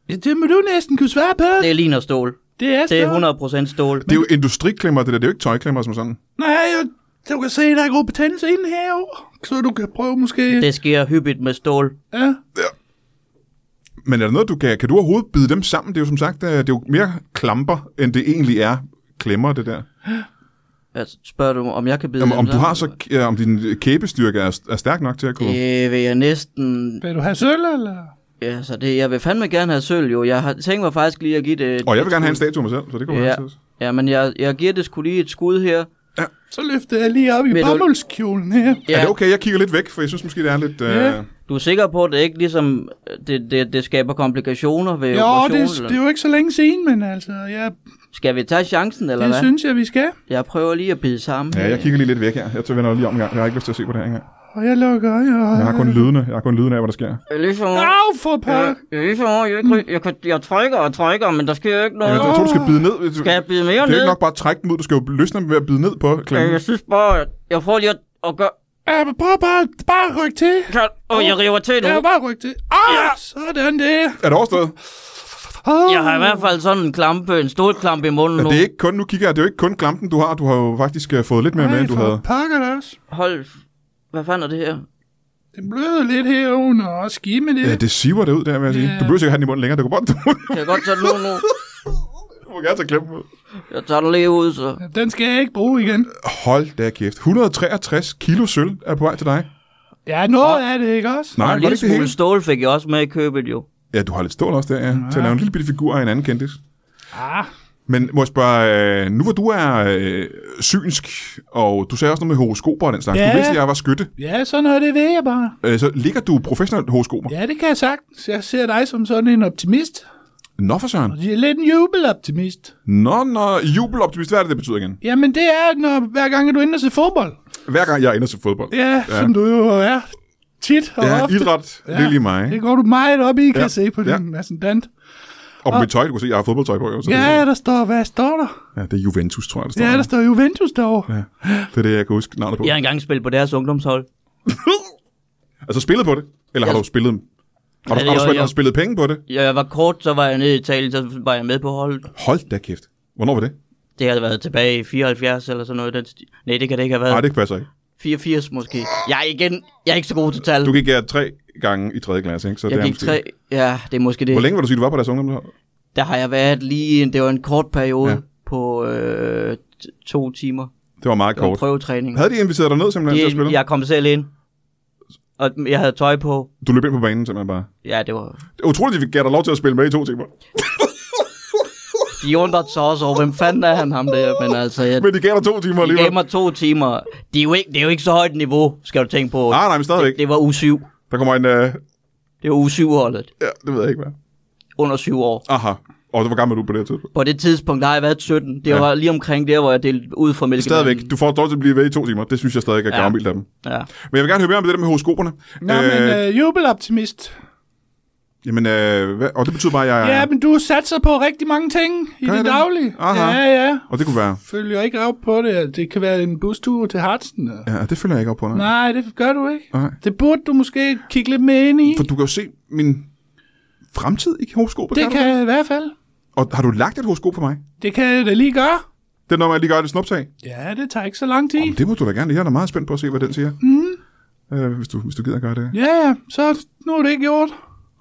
Speaker 3: Ja, det må du næsten kunne svare på.
Speaker 2: det er ligner stål.
Speaker 3: Det er,
Speaker 2: Det
Speaker 3: stadig-
Speaker 2: er 100% stål.
Speaker 1: Det er jo industriklemmer, det der. Det er jo ikke tøjklemmer som sådan.
Speaker 3: Nej, jeg- du kan se, der er god betændelse inde herovre. Så du kan prøve måske...
Speaker 2: Det sker hyppigt med stål.
Speaker 3: Ja.
Speaker 1: Men er der noget, du kan... Kan du overhovedet bide dem sammen? Det er jo som sagt, øh, det er jo mere klamper, end det egentlig er klemmer, det der.
Speaker 2: Altså, spørger du, om jeg kan bide
Speaker 1: Jamen, om
Speaker 2: dem
Speaker 1: du har så...
Speaker 2: sammen?
Speaker 1: øh, om din kæbestyrke er, er stærk nok til at kunne...
Speaker 2: Det vil jeg næsten...
Speaker 3: Vil du have sølv, eller?
Speaker 2: Ja, så det, jeg vil fandme gerne have sølv, jo. Jeg har tænkt mig faktisk lige at give det...
Speaker 1: Og jeg vil gerne have en statue af mig selv, så det kunne være
Speaker 2: Ja,
Speaker 1: altid.
Speaker 2: ja men jeg, jeg giver det sgu lige et skud her.
Speaker 1: Ja.
Speaker 3: Så løftede jeg lige op i
Speaker 2: Ved du-
Speaker 3: bomuldskjolen her.
Speaker 1: Ja. Er det okay, jeg kigger lidt væk, for jeg synes måske, det er lidt... Øh...
Speaker 3: Ja.
Speaker 2: Du er sikker på, at det ikke ligesom, det, det, det skaber komplikationer ved
Speaker 3: Jo,
Speaker 2: operationen?
Speaker 3: det, det er jo ikke så længe siden, men altså, jeg,
Speaker 2: Skal vi tage chancen, eller
Speaker 3: det
Speaker 2: hvad?
Speaker 3: synes jeg, vi skal.
Speaker 2: Jeg prøver lige at bide sammen.
Speaker 1: ja, jeg kigger lige lidt væk her. Jeg vender lige om en gang. Jeg har ikke lyst til at se på det her engang.
Speaker 3: Og jeg lukker øjnene.
Speaker 1: Jeg har
Speaker 2: Øh.
Speaker 1: kun lydene. Jeg har kun lydene af, hvad der sker.
Speaker 2: Ligesom,
Speaker 3: Au, for pak!
Speaker 2: jeg, jeg, jeg, jeg trykker og trykker, men der sker jo ikke
Speaker 1: Jeg,
Speaker 2: noget.
Speaker 1: jeg tror, du skal bide ned. Du-
Speaker 2: Skal jeg bide mere
Speaker 1: Det er jo
Speaker 2: ned?
Speaker 1: ikke nok bare at trække dem ud. Du skal jo løsne dem ved at bide ned på
Speaker 2: Øh,
Speaker 1: klemmen.
Speaker 2: Jeg synes bare, at jeg prøver lige at, at gøre...
Speaker 3: Ja, men prøv bare, bare ryk til.
Speaker 2: Kan, åh, jeg river til nu.
Speaker 3: Ja, bare ryk til. Ah, ja. sådan der.
Speaker 1: Er det overstået?
Speaker 3: Oh.
Speaker 2: Jeg har i hvert fald sådan en klampe, en stålklampe i munden
Speaker 1: Ja,
Speaker 2: nu.
Speaker 1: det er ikke kun, nu kigger jeg, det er jo ikke kun klampen, du har. Du har jo faktisk øh, fået lidt mere med, end du havde.
Speaker 3: pakker det også.
Speaker 2: Hold... Hvad fanden er det her?
Speaker 3: Den bløder lidt herunder og skimme lidt.
Speaker 1: Ja, det siver det ud der, vil jeg sige.
Speaker 3: Ja.
Speaker 1: Du behøver sikkert have den i munden længere. Du kan bare... Du,
Speaker 2: Kan jeg godt tage den ud nu?
Speaker 1: du må gerne tage klemmen ud.
Speaker 2: Jeg tager den lige ud, så...
Speaker 3: Den skal jeg ikke bruge igen.
Speaker 1: Hold da kæft. 163 kilo sølv er på vej til dig.
Speaker 3: Ja, noget er det, ikke også?
Speaker 1: Nej,
Speaker 2: Og
Speaker 1: var
Speaker 2: en
Speaker 1: det ikke
Speaker 2: lille
Speaker 1: det
Speaker 2: smule
Speaker 1: hele?
Speaker 2: stål fik jeg også med i købet, jo.
Speaker 1: Ja, du har lidt stål også der, ja. Til at lave en lille bitte figur af en anden kendis.
Speaker 3: Ah,
Speaker 1: Men må jeg spørge, øh, nu hvor du er øh, synsk, og du sagde også noget med horoskoper og den slags.
Speaker 3: Ja.
Speaker 1: Du vidste, at jeg var skytte.
Speaker 3: ja, sådan noget, det ved jeg bare.
Speaker 1: Øh, så ligger du professionelt horoskoper?
Speaker 3: Ja, det kan jeg sagtens. Jeg ser dig som sådan en optimist.
Speaker 1: Nå for søren.
Speaker 3: Jeg er lidt en jubeloptimist.
Speaker 1: Nå, nå, jubeloptimist. Hvad er det, det betyder igen?
Speaker 3: Jamen, det er, når, hver gang er du inde og se fodbold.
Speaker 1: Hver gang jeg ender til fodbold.
Speaker 3: Ja, ja, som du jo er tit og
Speaker 1: Ja,
Speaker 3: ofte.
Speaker 1: idræt, ja. det er lige mig. ikke?
Speaker 3: Det går du meget op i, kan
Speaker 1: Ja,
Speaker 3: ja. jeg se på
Speaker 1: ja.
Speaker 3: din ascendant.
Speaker 1: Og på mit tøj, du kan se, jeg har fodboldtøj på. Jo, så
Speaker 3: Ja, der står, hvad står der?
Speaker 1: ja, det er Juventus, tror jeg, der står.
Speaker 3: Ja, der står Juventus derovre.
Speaker 1: ja. Det er det, jeg kan huske navnet på.
Speaker 2: Jeg har engang spillet på deres ungdomshold.
Speaker 1: Altså spillet på det? Eller har
Speaker 2: Jeg-
Speaker 1: du spillet dem? Har du,
Speaker 2: Ja,
Speaker 1: har, du
Speaker 2: jo,
Speaker 1: spillet,
Speaker 2: jo.
Speaker 1: har du spillet penge på det?
Speaker 2: Ja, Jeg var kort, så var jeg nede i Italien, så var jeg med på holdet.
Speaker 1: Hold da kæft. Hvornår var det?
Speaker 2: Det har været tilbage i 74 eller sådan noget. i Den sti- Nej, det kan det ikke have været.
Speaker 1: Nej, det passer ikke.
Speaker 2: 84 måske. Jeg er igen, jeg er ikke så god til tal.
Speaker 1: Du gik her tre gange i tredje klasse, ikke? Så det
Speaker 2: jeg
Speaker 1: er
Speaker 2: gik
Speaker 1: måske-
Speaker 2: tre, ja, det er måske det.
Speaker 1: Hvor længe var du sige, du var på deres ungdomshold?
Speaker 2: Der har jeg været lige, en- det var en kort periode
Speaker 1: Ja.
Speaker 2: ja. på øh, t- to timer.
Speaker 1: Det var meget
Speaker 2: Det var
Speaker 1: kort.
Speaker 2: prøvetræning.
Speaker 1: Havde de inviteret dig ned simpelthen til at spille?
Speaker 2: Det, jeg kom selv ind, og jeg havde tøj på.
Speaker 1: Du løb ind på banen simpelthen bare.
Speaker 2: Ja, det var...
Speaker 1: Det er utroligt, at vi gav dig lov til at spille med i to timer.
Speaker 2: De undrede sig også over, hvem fanden er han ham der? Men altså, jeg,
Speaker 1: Men de gav dig to timer
Speaker 2: de gav
Speaker 1: alligevel.
Speaker 2: mig to timer. Det er, jo ikke, det er jo ikke så højt et niveau, skal du tænke på.
Speaker 1: Nej, nej, men stadigvæk.
Speaker 2: Det var U7.
Speaker 1: Der kommer en... Øh...
Speaker 2: Det var U7-holdet.
Speaker 1: Ja, det ved jeg ikke, hvad.
Speaker 2: Under syv år.
Speaker 1: Aha. Og hvor gammel er du på det her tidspunkt?
Speaker 2: På det tidspunkt, der har jeg været 17. Det
Speaker 1: Ja.
Speaker 2: ja. var lige omkring der, hvor jeg delte ud fra mælken.
Speaker 1: Stadigvæk. Du får lov til at blive ved i to timer. Det synes jeg stadig er
Speaker 2: Ja.
Speaker 1: gammelt af dem.
Speaker 2: Ja.
Speaker 1: Men jeg vil gerne høre mere om det der med horoskoperne.
Speaker 3: Nå, øh, men øh, jubeloptimist.
Speaker 1: Jamen, øh, hvad? og det betyder bare, at jeg...
Speaker 3: Ja, ja, men du satser på rigtig mange ting i
Speaker 1: Gør jeg
Speaker 3: det
Speaker 1: det?
Speaker 3: daglige.
Speaker 1: Aha.
Speaker 3: Ja, ja.
Speaker 1: Og det kunne være...
Speaker 3: Følger ikke op på det. Det kan være en bustur til Hartsen. Ja.
Speaker 1: Ja, det følger jeg ikke op på. Nej.
Speaker 3: Nej, det gør du ikke.
Speaker 1: Nej.
Speaker 3: Det burde du måske kigge lidt mere ind i.
Speaker 1: For du kan jo se min fremtid i horoskopet.
Speaker 3: Det kan
Speaker 1: Du?
Speaker 3: jeg i hvert fald.
Speaker 1: Og har du lagt et horoskop for mig?
Speaker 3: Det kan jeg da lige gøre.
Speaker 1: Det er, når man lige gør et snuptag.
Speaker 3: Ja, det tager ikke så lang tid.
Speaker 1: Jamen, det må du da gerne. Jeg er da meget spændt på at se, hvad den siger. Mm. Øh, hvis, du, hvis du gider gøre det.
Speaker 3: Ja, ja, så nu er det ikke gjort.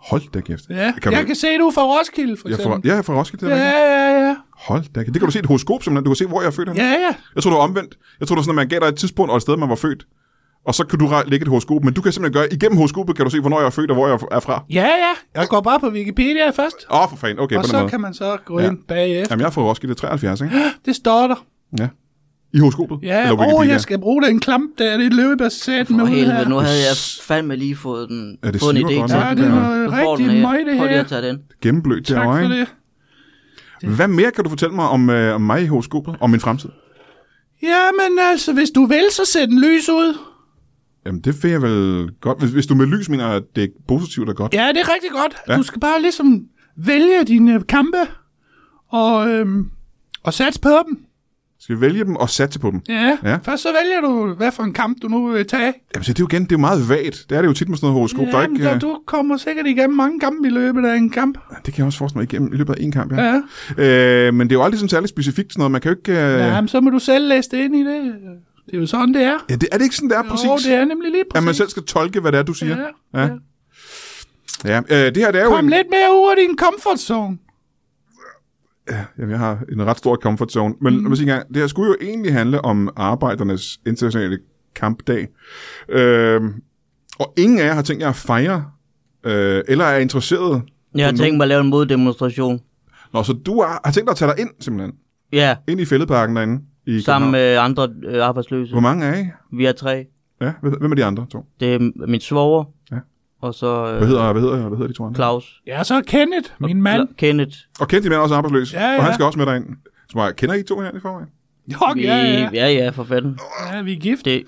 Speaker 1: Hold da kæft.
Speaker 3: Ja,
Speaker 1: Kan
Speaker 3: kan jeg
Speaker 1: du-
Speaker 3: kan se, du er fra Roskilde, for
Speaker 1: Jeg er fra,
Speaker 3: eksempel.
Speaker 1: ja, jeg er fra Roskilde. Det er
Speaker 3: Ja,
Speaker 1: rigtigt.
Speaker 3: ja, ja.
Speaker 1: Hold da kæft. Det kan du se et horoskop, simpelthen. Du kan se, hvor jeg er født. henne.
Speaker 3: Ja, ja.
Speaker 1: Jeg tror, det var omvendt. Jeg tror, det var sådan, at man gav dig et tidspunkt og et sted, man var født. Og så kan du re- lægge et horoskop, men du kan simpelthen gøre, igennem horoskopet kan du se, hvornår jeg er født og hvor jeg er fra.
Speaker 3: Ja, ja. Jeg går bare på Wikipedia først.
Speaker 1: Åh, oh, for fanden. Okay,
Speaker 3: og
Speaker 1: på den
Speaker 3: så
Speaker 1: måde.
Speaker 3: kan man så gå
Speaker 1: Ja.
Speaker 3: ind bagefter.
Speaker 1: Jamen, jeg er fra Roskilde 73, ikke?
Speaker 3: Det står der.
Speaker 1: Ja. I horoskopet?
Speaker 3: Ja,
Speaker 1: Eller
Speaker 3: åh,
Speaker 1: Wikipedia?
Speaker 3: jeg skal bruge den klamp der, det løbebasset med
Speaker 2: For
Speaker 3: ud
Speaker 2: helvede,
Speaker 3: her.
Speaker 2: nu havde jeg fandme lige fået, den,
Speaker 1: Ja, det
Speaker 2: fået en
Speaker 1: siver
Speaker 2: idé
Speaker 1: godt
Speaker 2: til.
Speaker 1: nok,
Speaker 3: Ja,
Speaker 1: det
Speaker 3: det er
Speaker 1: der.
Speaker 3: noget
Speaker 2: Du får
Speaker 3: rigtig
Speaker 2: den her.
Speaker 3: møg, det
Speaker 2: Prøv lige at
Speaker 3: her.
Speaker 2: tage den.
Speaker 1: Gennemblødt
Speaker 3: Tak
Speaker 1: derovre,
Speaker 3: for
Speaker 1: ikke?
Speaker 3: det.
Speaker 1: Hvad mere kan du fortælle mig om, øh, om mig i horoskopet? Om min fremtid?
Speaker 3: Jamen altså, hvis du vil, så sæt den lys ud.
Speaker 1: Jamen, det vil jeg vel godt. Hvis, hvis du med lys mener, at det er positivt og godt.
Speaker 3: Ja, det er rigtig godt.
Speaker 1: Ja.
Speaker 3: Ja. Du skal bare ligesom vælge dine kampe og, øhm, og satse på dem.
Speaker 1: Skal vi vælge dem og satse på dem?
Speaker 3: Ja.
Speaker 1: Ja.
Speaker 3: ja, først så vælger du, hvad for en kamp du nu vil tage.
Speaker 1: Jamen, så det er jo igen, det er jo meget vagt. Det er det jo tit med sådan noget horoskop. der er
Speaker 3: Jamen,
Speaker 1: ikke,
Speaker 3: der,
Speaker 1: øh,
Speaker 3: du kommer sikkert igennem mange kampe i løbet af en kamp.
Speaker 1: Det kan jeg også forestille mig igennem i løbet af en kamp, ja.
Speaker 3: Ja.
Speaker 1: Øh, men det er jo aldrig sådan særlig specifikt sådan noget. Man kan jo ikke... Øh...
Speaker 3: Ja, men så må du selv læse det ind i det. Det er jo sådan, det er.
Speaker 1: Ja, det, er det ikke sådan, det er præcis?
Speaker 3: Jo, det er nemlig lige præcis.
Speaker 1: At man selv skal tolke, hvad det er, du siger.
Speaker 3: Ja, ja.
Speaker 1: ja. Øh, det her, det er jo
Speaker 3: Kom
Speaker 1: en...
Speaker 3: lidt mere ud af din comfort zone.
Speaker 1: Jamen, jeg har en ret stor comfort zone. Men mm. sige en gang, det her skulle jo egentlig handle om arbejdernes internationale kampdag. Øh, og ingen af jer har tænkt jer at fejre, øh, eller er interesseret.
Speaker 2: Jeg har tænkt mig at lave en moddemonstration.
Speaker 1: Nå, så du har, har tænkt dig at tage dig ind, simpelthen.
Speaker 2: Ja,
Speaker 1: Ind i fældeparken derinde. I
Speaker 2: sammen
Speaker 1: København.
Speaker 2: med andre øh, arbejdsløse.
Speaker 1: Hvor mange er I?
Speaker 2: Vi er tre.
Speaker 1: Ja, hvem- hvem er de andre to?
Speaker 2: Det er m- min svoger,
Speaker 1: Ja.
Speaker 2: og så øh,
Speaker 1: Hvad hedder, hvad hedder, hvad hedder de to andre?
Speaker 2: Claus.
Speaker 3: Ja, så er Kenneth, min mand.
Speaker 2: Kla- Kenneth.
Speaker 1: Og kendt de mænd er også arbejdsløs,
Speaker 3: Ja, ja.
Speaker 1: og han skal også med dig ind. Så bare, kender I to hinanden i forvejen?
Speaker 3: Fuck, ja, ja.
Speaker 2: ja, ja, for fanden.
Speaker 3: ja, vi er gift.
Speaker 2: Det,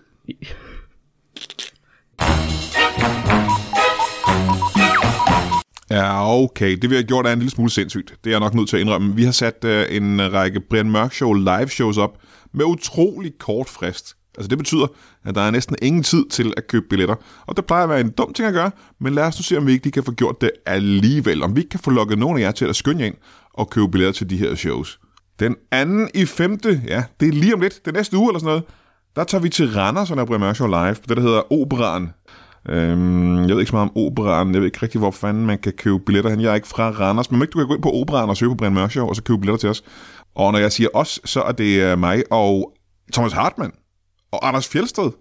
Speaker 1: Ja, okay. Det vi har gjort er en lille smule sindssygt. Det er jeg nok nødt til at indrømme. Vi har sat øh, en række Brian Mørk Show live shows op med utrolig kort frist. Altså det betyder, at der er næsten ingen tid til at købe billetter. Og det plejer at være en dum ting at gøre, men lad os nu se, om vi ikke lige kan få gjort det alligevel. Om vi ikke kan få lukket nogen af jer til at skynde jer ind og købe billetter til de her shows. Den anden i femte, ja, det er lige om lidt, det er næste uge eller sådan noget, der tager vi til Randers og laver Brian Mørk Show live på det, der hedder Operan. Øhm, jeg ved ikke så meget om operan. Jeg ved ikke rigtig, hvor fanden man kan købe billetter hen. Jeg er ikke fra Randers, men du kan gå ind på operan og søge på Brian Mørk Show, og så købe billetter til os. Og når jeg siger os, så er det øh, mig og Thomas Hartmann og Anders Fjelsted.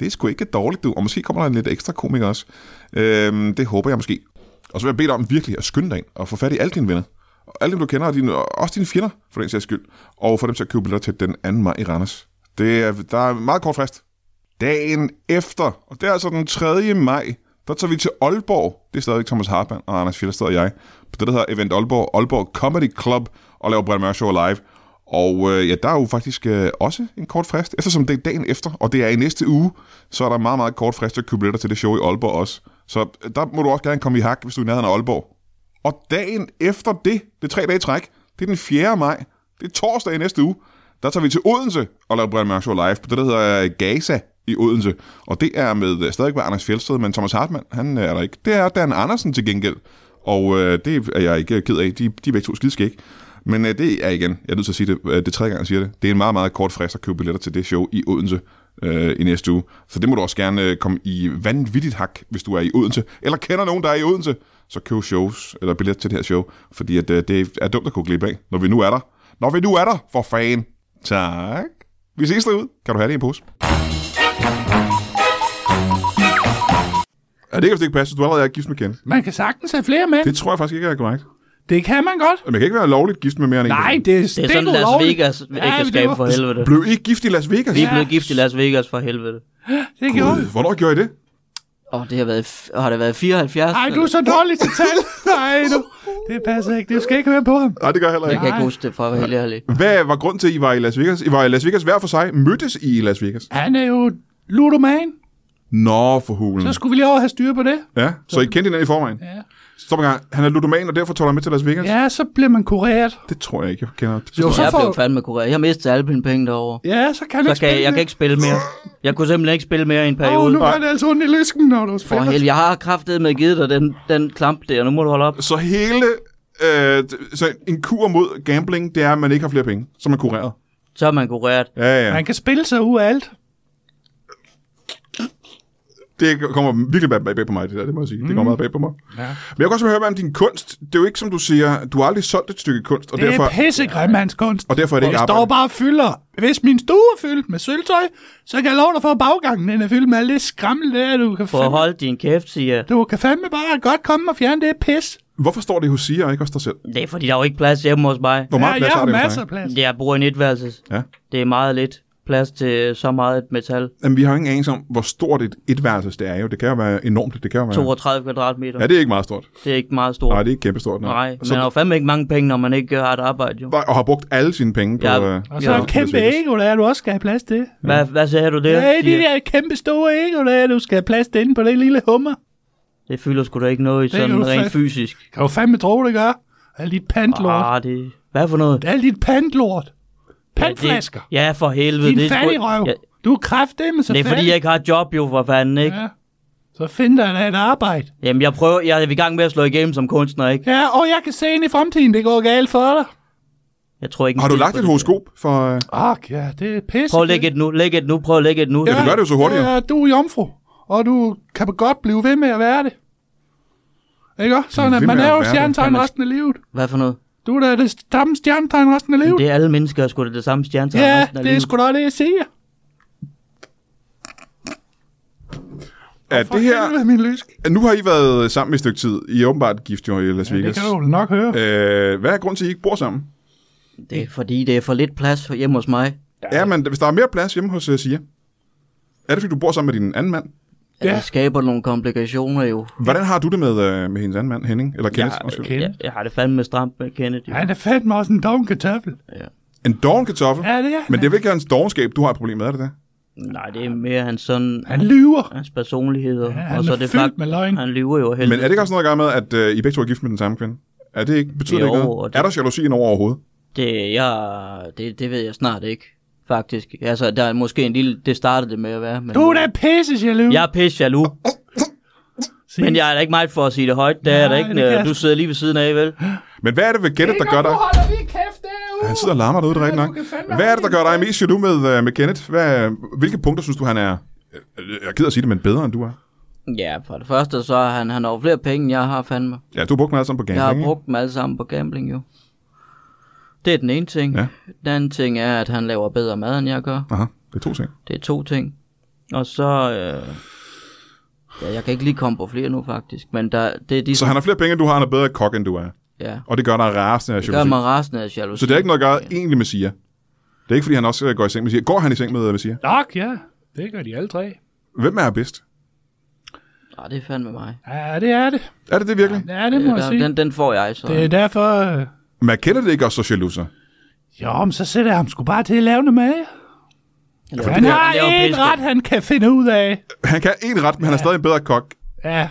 Speaker 1: Det er sgu ikke dårligt, du. Og måske kommer der en lidt ekstra komiker også. Øhm, det håber jeg måske. Og så vil jeg bede dig om virkelig at skynde dig ind og få fat i alle dine venner. Og alle dem, du kender, og dine, og også dine fjender, for den sags skyld. Og få dem til at købe billetter til den 2. maj i Randers. Det er, der er meget kort frist dagen efter, og det er altså den 3. maj, der tager vi til Aalborg. Det er stadigvæk Thomas Hartmann og Anders Fjellsted og jeg. På det, der hedder Event Aalborg, Aalborg Comedy Club, og laver Brian Mørk Show live. Og øh, ja, der er jo faktisk øh, også en kort frist, eftersom det er dagen efter, og det er i næste uge, så er der meget, meget kort frist til at købe billetter til det show i Aalborg også. Så øh, der må du også gerne komme i hak, hvis du er i nærheden af Aalborg. Og dagen efter det, det er tre dage i træk, det er den 4. maj, det er torsdag i næste uge, der tager vi til Odense og laver Brian Mørk Show live på det, der hedder øh, Gaza i Odense. Og det er med stadig med Anders Fjeldsted, men Thomas Hartmann, han øh, er der ikke. Det er Dan Andersen til gengæld, og øh, det er jeg ikke ked af. De, de er begge to skidskæg. Men øh, det er igen, jeg er nødt til at sige det, øh, det er tredje gang, jeg siger det. Det er en meget, meget kort frist at købe billetter til det show i Odense øh, i næste uge. Så det må du også gerne øh, komme i vanvittigt hak, hvis du er i Odense. Eller kender nogen, der er i Odense, så køb shows, eller billetter til det her show. Fordi at, øh, det er dumt at gå glip af, når vi nu er der. Når vi nu er der, for fan. Tak. Vi ses derude. Kan du have det i en pose? Ja, det kan vist ikke passe, du allerede er gift med Ken.
Speaker 3: Man kan sagtens have flere mænd. Det,
Speaker 1: Det tror jeg faktisk ikke er korrekt.
Speaker 3: det kan man godt.
Speaker 1: Man kan ikke være lovligt gift med mere end en
Speaker 3: Nej,
Speaker 1: person.
Speaker 3: det er,
Speaker 2: det er sådan
Speaker 3: stik
Speaker 2: Las
Speaker 3: ulovligt.
Speaker 2: Vegas ægteskab
Speaker 3: det var-
Speaker 2: for helvede.
Speaker 1: Blev I gift i Las Vegas?
Speaker 2: Vi er
Speaker 1: Ja.
Speaker 2: blevet gift i Las Vegas for helvede.
Speaker 3: Det gjorde
Speaker 1: Hvornår gjorde I det?
Speaker 2: Åh, oh, det har været, f- har det været 74?
Speaker 3: Ej, du er så dårlig til tal. Nej, du. Det passer ikke. Det skal ikke være på ham.
Speaker 1: Nej, det gør jeg heller
Speaker 2: Jeg kan
Speaker 1: ikke.
Speaker 2: ikke huske det, for at være helt ærlig.
Speaker 1: Hvad var grunden til, at I var i Las Vegas? I var i Las Vegas hver for sig. Mødtes I i Las Vegas?
Speaker 3: Han er jo ludoman.
Speaker 1: Nå, for hulen.
Speaker 3: Så skulle vi lige over have styr på det.
Speaker 1: Ja, så I kendte hinanden i forvejen?
Speaker 3: Ja.
Speaker 1: Stop en gang. Han er ludoman, og derfor tog han med til Las Vegas?
Speaker 3: Ja, så bliver man kureret.
Speaker 1: Det tror jeg ikke, jeg kender.
Speaker 3: Jo, så
Speaker 2: Jeg
Speaker 3: får...
Speaker 2: blev fandme kureret. Jeg mistede alle mine penge derovre.
Speaker 3: Ja, så kan
Speaker 2: Så
Speaker 3: du ikke
Speaker 2: kan jeg,
Speaker 3: spille
Speaker 2: jeg kan ikke spille mere. Jeg kunne simpelthen ikke spille mere i en
Speaker 3: Åh,
Speaker 2: periode.
Speaker 3: nu var det altså ondt i lysken, når du
Speaker 2: For
Speaker 3: spiller.
Speaker 2: helvede, jeg har kraftet med givet dig den, den klamp der. Nu må du holde op.
Speaker 1: Så hele... Øh, d- så en kur mod gambling, det er, at man ikke har flere penge, så er man kureret.
Speaker 2: Så er man kureret.
Speaker 1: Ja, ja.
Speaker 3: Man kan spille sig ud af alt.
Speaker 1: Det kommer virkelig bag, bag på mig, det der, det må jeg sige. Det kommer meget bag på mig.
Speaker 3: Mm. Ja.
Speaker 1: Men jeg kan også høre mere om din kunst. Det er jo ikke, som du siger, du har aldrig solgt et stykke kunst, og,
Speaker 3: Det
Speaker 1: derfor,
Speaker 3: er pissegrim, hans kunst.
Speaker 1: og derfor er det ikke
Speaker 3: Jeg står bare og fylder. Hvis min stue er fyldt med sølvtøj, så kan jeg love dig for, at baggangen den er fyldt med alt det skrammel der. Du kan,
Speaker 2: For at
Speaker 3: fandme,
Speaker 2: holde din kæft, siger jeg.
Speaker 3: du kan fandme bare godt komme og fjerne det pis.
Speaker 1: Hvorfor står det hos Sia og ikke hos dig selv?
Speaker 2: Det er fordi, der er jo ikke plads hjemme hos mig.
Speaker 1: Hvor
Speaker 3: Ja,
Speaker 1: meget plads
Speaker 3: jeg
Speaker 1: har
Speaker 3: har
Speaker 1: det hos
Speaker 3: masser
Speaker 1: dig?
Speaker 3: af plads.
Speaker 2: Jeg bruger en etværelses.
Speaker 1: Ja.
Speaker 2: Det er meget lidt plads til så meget metal.
Speaker 1: Jamen, vi har jo ingen anelse om, hvor stort et etværelses det er jo. Det kan jo være enormt. Det kan jo være...
Speaker 2: 32 kvadratmeter.
Speaker 1: Ja, det er ikke meget stort.
Speaker 2: Det er ikke meget stort.
Speaker 1: Nej, det er ikke kæmpestort.
Speaker 2: Nej, man
Speaker 1: Så,
Speaker 2: har jo fandme ikke mange penge, når man ikke har et arbejde, jo.
Speaker 1: Nej, og har brugt alle sine penge på...
Speaker 2: Ja.
Speaker 1: øh,
Speaker 3: Og så
Speaker 2: Ja.
Speaker 3: ja, et kæmpe ego, der er, du også skal have plads til.
Speaker 2: Hvad, hvad sagde du
Speaker 3: Ja,
Speaker 2: der?
Speaker 3: hey, de
Speaker 2: siger?
Speaker 3: der kæmpe store ego, der er, du skal have plads til inde på det lille hummer.
Speaker 2: Det fylder sgu da ikke noget i
Speaker 3: kan du
Speaker 2: sådan rent
Speaker 3: fa-
Speaker 2: fysisk.
Speaker 3: Kan du fandme tro, det gør? Alt dit pantlort.
Speaker 2: Ah, det... Hvad for noget?
Speaker 3: Det er alt dit pantlort.
Speaker 2: Ah. Ja, det-
Speaker 3: Pantflasker.
Speaker 2: Ja, for helvede.
Speaker 3: Din
Speaker 2: det er sgu-
Speaker 3: fattigrøv.
Speaker 2: Ja,
Speaker 3: Du er kraftedeme så
Speaker 2: det er fordi,
Speaker 3: fattig.
Speaker 2: jeg ikke har et job, jo, for fanden, ikke?
Speaker 3: Ja. Så find dig da et arbejde.
Speaker 2: Jamen, jeg prøver... Jeg er i gang med at slå igennem som kunstner, ikke?
Speaker 3: Ja, og jeg kan se ind i fremtiden, det går galt for dig.
Speaker 2: Jeg tror ikke... en
Speaker 1: Har du
Speaker 2: skid
Speaker 1: lagt
Speaker 2: på
Speaker 1: et
Speaker 2: det.
Speaker 1: horoskop for... øh,
Speaker 3: Ak, ja, det er pisse.
Speaker 2: Prøv at lægge et nu, læg et nu, prøv at lægge et nu.
Speaker 1: du gør det jo så hurtigere.
Speaker 3: Ja, du er jomfru, og du kan godt blive ved med at være det. Ikke også? Sådan,
Speaker 1: Blive
Speaker 3: at
Speaker 1: ved
Speaker 3: man
Speaker 1: med at
Speaker 3: er jo
Speaker 1: være det.
Speaker 3: stjernetegn
Speaker 2: Jamen,
Speaker 3: resten af livet.
Speaker 2: Hvad for noget?
Speaker 3: Du er da det samme stjernetegn resten af livet.
Speaker 2: Det er alle mennesker, er sgu da det samme stjernetegn.
Speaker 3: Ja,
Speaker 2: resten af
Speaker 3: det er
Speaker 2: livet.
Speaker 3: sgu da det, jeg siger.
Speaker 1: Er
Speaker 3: For
Speaker 1: det her...
Speaker 3: helvede, min lysk.
Speaker 1: Nu har I været sammen i et stykke tid. I er åbenbart gift jo i Las
Speaker 3: Det
Speaker 1: Vegas.
Speaker 3: kan du vel nok høre.
Speaker 1: Øh, hvad er grunden til, at I ikke bor sammen?
Speaker 2: Det er fordi, det er for lidt plads hjemme hos mig.
Speaker 1: Ja, men hvis der er mere plads hjemme hos uh, Sia, er det fordi, du bor sammen med din anden mand?
Speaker 2: Ja.
Speaker 3: Ja.
Speaker 2: Det skaber nogle komplikationer jo.
Speaker 1: Hvordan har du det med, uh, med hendes anden mand, Henning? Eller Kenneth?
Speaker 2: Jeg,
Speaker 1: undskyld.
Speaker 3: Kenneth.
Speaker 2: jeg, jeg har det fandme stramt med Kenneth. Jo.
Speaker 3: Han er fandme også en dogen kartoffel.
Speaker 2: øh,
Speaker 1: En doven kartoffel?
Speaker 3: Ja, det er han.
Speaker 1: Men det er vel ikke hans dovenskab, du har et problem med, er det det?
Speaker 2: Nej, det er mere hans sådan...
Speaker 3: Han lyver.
Speaker 2: Hans personlighed. og-
Speaker 3: Ja, han
Speaker 2: og så
Speaker 3: er
Speaker 2: er det
Speaker 3: fyldt
Speaker 2: fakt-
Speaker 3: med løgn.
Speaker 2: Han lyver jo
Speaker 1: Men
Speaker 2: heldigvis.
Speaker 1: er det ikke også noget at gøre med, at uh, I begge to er gift med den samme kvinde? Er det ikke, betyder det
Speaker 2: Jo,
Speaker 1: ikke
Speaker 2: og
Speaker 1: noget?
Speaker 2: det-
Speaker 1: Er der jalousi ind over overhovedet?
Speaker 2: Det, jeg, det, det ved jeg snart ikke, faktisk. Altså, der er måske en lille... Det startede det med at være, men...
Speaker 3: Du er da pisse jaloux.
Speaker 2: Jeg er pisse jaloux,
Speaker 3: Sig.
Speaker 2: men jeg er da ikke meget for at sige det højt. Det er
Speaker 3: Nej,
Speaker 2: der
Speaker 3: det kan
Speaker 2: ikke, øh,
Speaker 3: jeg-
Speaker 2: du sidder lige ved siden af, vel?
Speaker 1: Men hvad er det ved Kenneth, der gør dig...
Speaker 4: holder lige kæft derude.
Speaker 1: Han sidder og larmer derude, det er rigtigt
Speaker 4: Ja,
Speaker 1: nok.
Speaker 4: du kan fandme
Speaker 1: Hvad er det,
Speaker 4: holde
Speaker 1: der
Speaker 4: din
Speaker 1: gør dig
Speaker 4: kæft.
Speaker 1: mest jaloux med, uh, med Kenneth? Hvad, hvilke punkter synes du, han er... øh, Jeg gider at sige det, men bedre end du er.
Speaker 2: Ja, for det første, så har han, han har jo flere penge, end jeg har fandme.
Speaker 1: Ja, du har brugt mig alle sammen på
Speaker 2: Jeg
Speaker 1: gambling,
Speaker 2: har
Speaker 1: ikke?
Speaker 2: brugt dem alle sammen på gambling, jo. Det er den ene ting.
Speaker 1: Ja.
Speaker 2: Den anden ting er, at han laver bedre mad, end jeg gør.
Speaker 1: Aha, det er to ting.
Speaker 2: Det er to ting. Og så... Øh, ja, jeg kan ikke lige komme på flere nu, faktisk. Men der, det er de...
Speaker 1: Så han har flere penge, end du har, han er bedre kok, end du er.
Speaker 2: Ja,
Speaker 1: Og det gør dig rasende af
Speaker 2: det gør
Speaker 1: jalousi.
Speaker 2: mig rasende af jalousi.
Speaker 1: Så det er ikke noget at gøre egentlig med Sia. Det er ikke, fordi han også øh, går i seng med Sia. Går han i seng med, øh, med Sia?
Speaker 3: Nok, ja. Det gør de alle tre.
Speaker 1: Hvem er bedst?
Speaker 2: Nej, det er fandme mig.
Speaker 3: Ja, det er det.
Speaker 1: Er det det virkelig?
Speaker 3: Ja, det må jeg
Speaker 2: der,
Speaker 3: sige.
Speaker 2: den, den får jeg så.
Speaker 3: Det er
Speaker 2: Det...
Speaker 3: derfor... øh,
Speaker 1: Men er Kenneth ikke også så jaloux? så?
Speaker 3: Jo, men så sætter jeg ham sgu bare til at lave noget med.
Speaker 2: Laver,
Speaker 3: Han har
Speaker 2: laver
Speaker 3: en
Speaker 2: pisse.
Speaker 3: ret, han kan finde ud af.
Speaker 1: Han kan én ret, men han er stadig en bedre kok.
Speaker 3: Ja.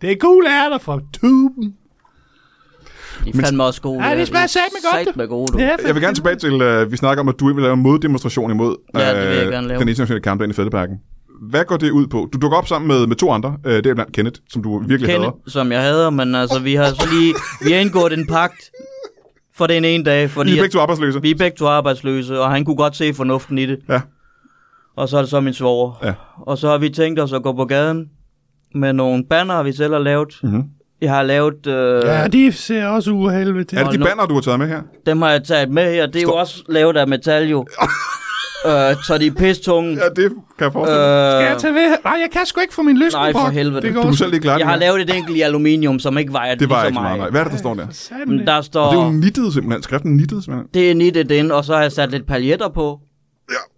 Speaker 3: Det er gule ærter fra tuben.
Speaker 2: De er fandme også gode.
Speaker 3: Ja, de smager satme godt, du.
Speaker 2: Satme gode, du.
Speaker 3: Ja,
Speaker 2: Ja.
Speaker 3: for-
Speaker 1: Jeg vil gerne tilbage til, øh, vi snakker om, at du vil lave en moddemonstration imod
Speaker 2: Ja, det vil jeg
Speaker 1: øh,
Speaker 2: gerne lave.
Speaker 1: den internationale kamp derinde i Fældeparken. Hvad går det ud på? Du dukker op sammen med, med to andre, øh, det er blandt Kenneth, som du virkelig
Speaker 2: Kenneth,
Speaker 1: hader.
Speaker 2: som jeg hader, men altså, vi har så lige... Vi har indgået en pagt for den ene dag, fordi
Speaker 1: I er
Speaker 2: at-
Speaker 1: begge to arbejdsløse.
Speaker 2: vi er begge to arbejdsløse, og han kunne godt se fornuften i det.
Speaker 1: Ja.
Speaker 2: Og så er det så min svoger.
Speaker 1: Ja.
Speaker 2: Og så har vi tænkt os at gå på gaden med nogle banner, vi selv har lavet.
Speaker 1: Mhm.
Speaker 2: Jeg har lavet... Øh,
Speaker 3: Ja, de ser også uhelvede til.
Speaker 1: Er det
Speaker 2: Hold
Speaker 1: de
Speaker 2: nu-
Speaker 1: banner, du har taget med her?
Speaker 2: Dem har jeg taget med her. Det er jo også lavet af metal, jo. øh, så de er pistunge.
Speaker 1: Ja, det kan jeg forestille mig.
Speaker 2: Øh,
Speaker 3: Skal jeg tage ved? Nej, jeg kan sgu ikke få min løsning
Speaker 2: Nej, for
Speaker 3: brugt.
Speaker 2: helvede.
Speaker 3: Det går
Speaker 1: Du er selv ikke klar.
Speaker 2: Øh, jeg har lavet et enkelt i aluminium, som ikke vejer
Speaker 1: Det var
Speaker 2: lige
Speaker 1: ikke
Speaker 2: så
Speaker 1: så meget. nej. Hvad er det, der står der?
Speaker 2: Men
Speaker 3: Satan,
Speaker 2: der står...
Speaker 1: Og det er jo nittet simpelthen. Skriften nittet simpelthen.
Speaker 2: Det er nittet ind, og så har jeg sat lidt paljetter på.